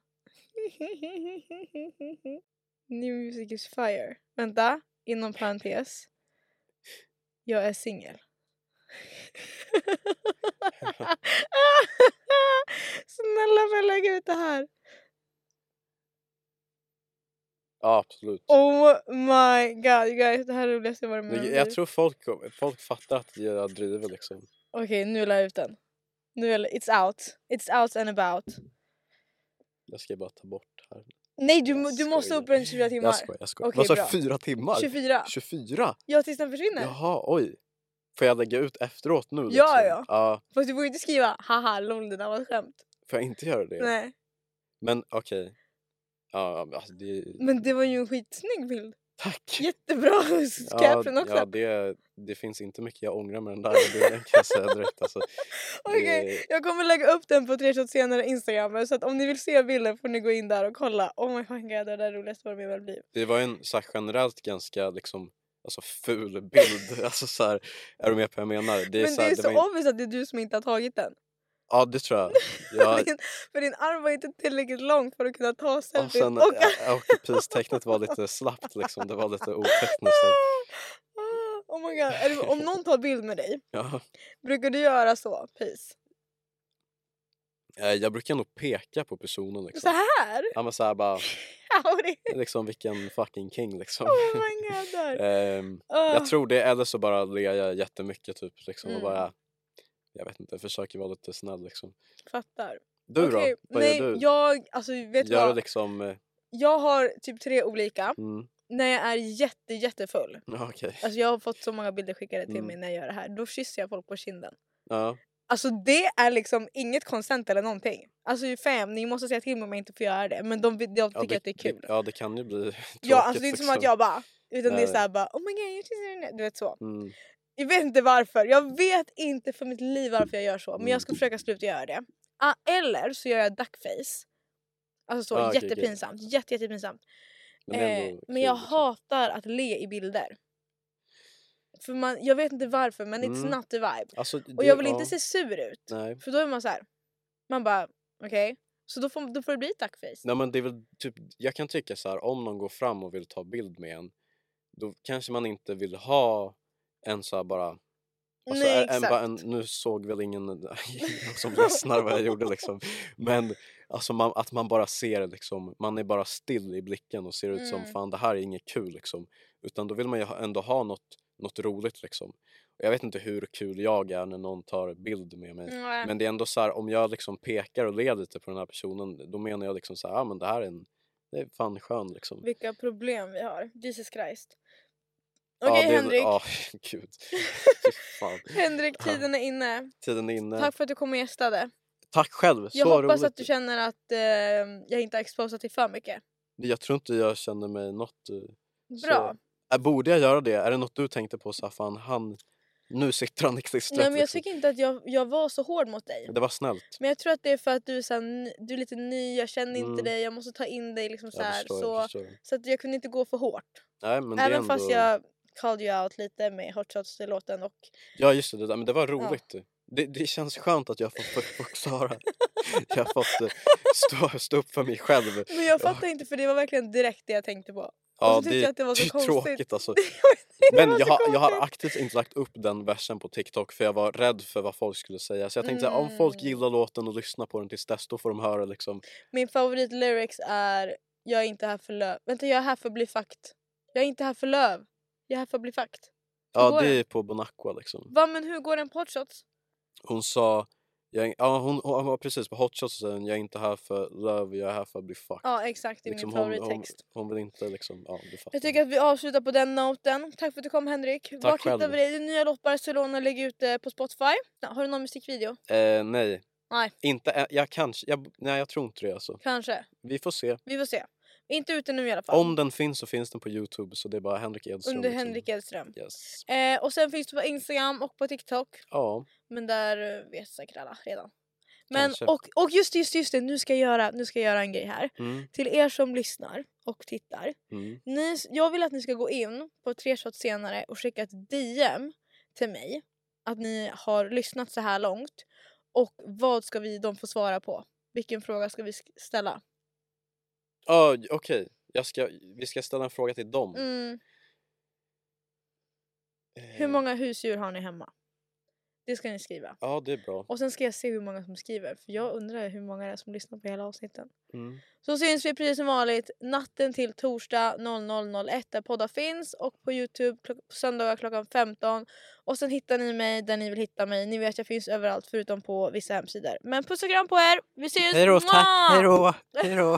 A: [laughs] New music is fire. Vänta, inom parentes. Jag är singel. [laughs] snälla får jag lägga ut det här?
B: Ja, absolut.
A: Oh my god you guys, det här är det roligaste jag varit med om i
B: Jag,
A: mitt
B: jag
A: liv.
B: tror folk, folk fattar att jag driver liksom.
A: Okej, nu la jag ut den. Nu är det- it's out. It's out and about.
B: Jag ska bara ta bort här.
A: Nej, du,
B: Jag
A: må- du måste
B: skojar.
A: upp den 24 timmar.
B: Jag skojar, jag skojar.
A: Okej,
B: Vad sa
A: bra.
B: du, fyra timmar?
A: 24.
B: 24?
A: Ja, tills den försvinner.
B: Jaha, oj. Får jag lägga ut efteråt nu? Liksom?
A: Ja, ja. Fast du får ju inte skriva haha lol det där var ett skämt.
B: Får jag inte göra det?
A: Nej.
B: Men okej. Ja, men alltså det...
A: Men det var ju en skitsnygg bild.
B: Tack!
A: Jättebra [laughs]
B: Ja,
A: caption också.
B: ja det, det finns inte mycket jag ångrar med den där bilden kan jag säga direkt.
A: [laughs]
B: Alltså,
A: Okej,
B: det-
A: jag kommer lägga upp den på tre shots senare Instagram. Så att om ni vill se bilden får ni gå in där och kolla. Oh my god, det var det där roligaste var med väl blir.
B: Det var ju en så här, generellt ganska liksom, alltså, ful bild. [laughs] alltså, så här, är du med på vad jag menar? Det är
A: Men
B: så,
A: det
B: här,
A: är
B: det var
A: så
B: ju-
A: obvious att det är du som inte har tagit den.
B: Ja, det tror jag.
A: [laughs]
B: jag...
A: Din, för din arm var inte tillräckligt lång för att kunna ta
B: Och
A: selfien.
B: sen,
A: och
B: ja, och pistecknet var lite slappt liksom. Det var lite otäckt nästan.
A: Ah, Oh my god. Eller, om någon tar bild med dig,
B: Ja.
A: brukar du göra så? Peace.
B: Eh, Jag brukar nog peka på personen
A: Så
B: liksom.
A: här? [laughs]
B: Ja men såhär bara,
A: Ja, och det-
B: liksom vilken fucking king liksom.
A: Oh my
B: [laughs]
A: god. Där.
B: Ehm,
A: Ah.
B: jag tror det, eller så bara ler jag jättemycket typ liksom och
A: Mm.
B: bara, jag vet inte, försöker vara lite snäll liksom.
A: Fattar.
B: Du
A: Okej,
B: då? Vad
A: nej,
B: gör du?
A: Jag, alltså, vet du
B: gör du
A: vad?
B: liksom, eh,
A: jag har typ tre olika.
B: mm,
A: När jag är jätte, jättefull.
B: ja, okej.
A: Alltså, jag har fått så många bilder skickade till
B: Mm.
A: mig när jag gör det här. Då kysser jag folk på kinden.
B: Ja,
A: Alltså det är liksom inget konsent eller någonting. Alltså fam, ni måste säga till mig om jag inte får göra det. Men de, de tycker
B: ja,
A: att det är kul.
B: ja det kan ju bli [laughs]
A: alltså, Ja, alltså det är inte som att jag bara... Utan det är
B: liksom. Nej.
A: såhär bara oh my god, jag kissar i den här", Du vet så.
B: Mm,
A: Jag vet inte varför. Jag vet inte för mitt liv varför jag gör så. Men jag
B: Mm.
A: ska försöka sluta göra det. Ah, eller så gör jag duckface. Alltså så
B: Ah, okej, okej.
A: jättepinsamt. Jätte, jättepinsamt.
B: Men, det är
A: eh,
B: ändå
A: men
B: kul,
A: jag
B: liksom.
A: hatar att le i bilder. För man, Jag vet inte varför men it's
B: Mm.
A: not the vibe.
B: Alltså,
A: Och
B: det-
A: jag vill
B: ja,
A: inte se sur ut.
B: Nej.
A: För då är man så här. Man bara okej. Så då får, då får det bli duckface.
B: nej men det är väl typ, jag kan tycka så här om någon går fram och vill ta bild med en då kanske man inte vill ha en så här bara Alltså,
A: Nej
B: en- en,
A: exakt.
B: bara en, nu såg väl ingen [laughs]
A: [laughs]
B: som lyssnar vad jag gjorde liksom. Men alltså man, att man bara ser liksom, man är bara still i blicken och ser ut som
A: Mm.
B: fan det här är inget kul liksom. Utan då vill man ju ha- ändå ha något, något roligt liksom. Och jag vet inte hur kul jag är när någon tar bild med mig.
A: Nej.
B: Men det är ändå så här om jag liksom pekar och ler lite på den här personen då menar jag liksom så här, ah, men det här är en, det är fan skön liksom.
A: Vilka problem vi har. Jesus Christ.
B: Ja,
A: Okej
B: det är-
A: Henrik.
B: Ja, [laughs]
A: [laughs]
B: gud. Fy fan.
A: Henrik,
B: Ja.
A: tiden är inne.
B: Tiden är inne. Tack,
A: Tack för att du kom och gästade.
B: själv,
A: Jag
B: så
A: hoppas
B: roligt.
A: att du känner att eh, jag inte har exposat dig för mycket.
B: Jag tror inte jag känner mig något... eh,
A: Bra.
B: Så, Äh, borde jag göra det? Är det något du tänkte på så här, fan han... Nu sitter han i klistret.
A: Nej, men jag
B: liksom.
A: tycker inte att jag, jag var så hård mot dig.
B: Det var snällt.
A: Men jag tror att det är för att du är, så här, ny- du är lite ny, jag känner inte
B: Mm.
A: dig, jag måste ta in dig. Liksom, så
B: Jag
A: här,
B: förstår,
A: så
B: jag förstår.
A: så att jag kunde inte gå för hårt.
B: Nej, men det är
A: Även
B: ändå...
A: fast jag called you out lite med Hot Shots-låten. Och...
B: Ja just det, det, där, men det var roligt. Det, det känns skönt att jag har fått
A: [laughs]
B: förklara. jag har fått eh, stå, stå upp för mig själv.
A: Men jag fattar inte för det var verkligen direkt det jag tänkte på.
B: Ja,
A: och så tyckte
B: det,
A: jag att det var så
B: är
A: konstigt.
B: tråkigt alltså.
A: [laughs] Det
B: Men
A: var
B: jag
A: så
B: har, jag har
A: konstigt.
B: aktivt inte lagt upp den versen på TikTok för jag var rädd för vad folk skulle säga. Så jag tänkte om folk
A: Mm.
B: gillar låten och lyssnar på den tills dess då får de höra liksom.
A: Min favoritlyrics är Jag är inte här för löv. Vänta, jag är här för att bli fakt. Jag är inte här för löv. Jag är här för att bli fakt. Hur
B: Ja
A: går
B: det
A: den?
B: är på Bonacqua liksom.
A: Va, men hur går den på Hot Shots?
B: Hon sa, jag, ja hon, hon, hon var precis på Hot Shots och sen jag är inte här för love, jag är här för att bli fucked.
A: Ja, exakt. Det är min
B: Liksom hon, hon,
A: favorittext.
B: hon vill inte liksom, ja du fattar.
A: Jag tycker att vi avslutar på den noten. Tack för att du kom Henrik. Tack Vart
B: själv.
A: hittar vi dig? Din nya låt Barcelona lägger ut eh, på Spotify. Ja, Har du någon musikvideo?
B: Eh, nej.
A: Nej.
B: Inte, ä- jag kanske, jag, nej jag tror inte det alltså.
A: Kanske.
B: Vi får se.
A: Vi får se. Inte ute nu i alla fall.
B: Om den finns så finns den på Youtube så det är bara Henrik Edström.
A: Under
B: liksom.
A: Henrik Edström.
B: Yes.
A: Eh, och sen finns du på Instagram och på TikTok.
B: Ja,
A: Men där eh, vet säkert alla redan. Men,
B: Kanske.
A: och, och just det, just, det, just det, nu ska, jag göra, nu ska jag göra en grej här.
B: mm,
A: Till er som lyssnar och tittar.
B: mm.
A: Ni, jag vill att ni ska gå in på tre shots senare och skicka ett DM till mig. Att ni har lyssnat så här långt. Och vad ska vi de få svara på? Vilken fråga ska vi sk- ställa?
B: Ja, okej. Jag ska, vi ska ställa en fråga till dem.
A: Mm,
B: Eh,
A: hur många husdjur har ni hemma? Det ska ni skriva.
B: Ja, det är bra.
A: Och sen ska jag se hur många som skriver. För jag undrar hur många det är som lyssnar på hela avsnitten.
B: Mm.
A: Så syns vi precis som vanligt natten till torsdag 00.01 där poddar finns och på Youtube klock- på söndagar klockan 15. Och sen hittar ni mig där ni vill hitta mig. Ni vet jag finns överallt förutom på vissa hemsidor. Men puss och kram på er! Vi ses!
B: Hej då, tack!
A: Mwah!
B: Hej då! Hej då!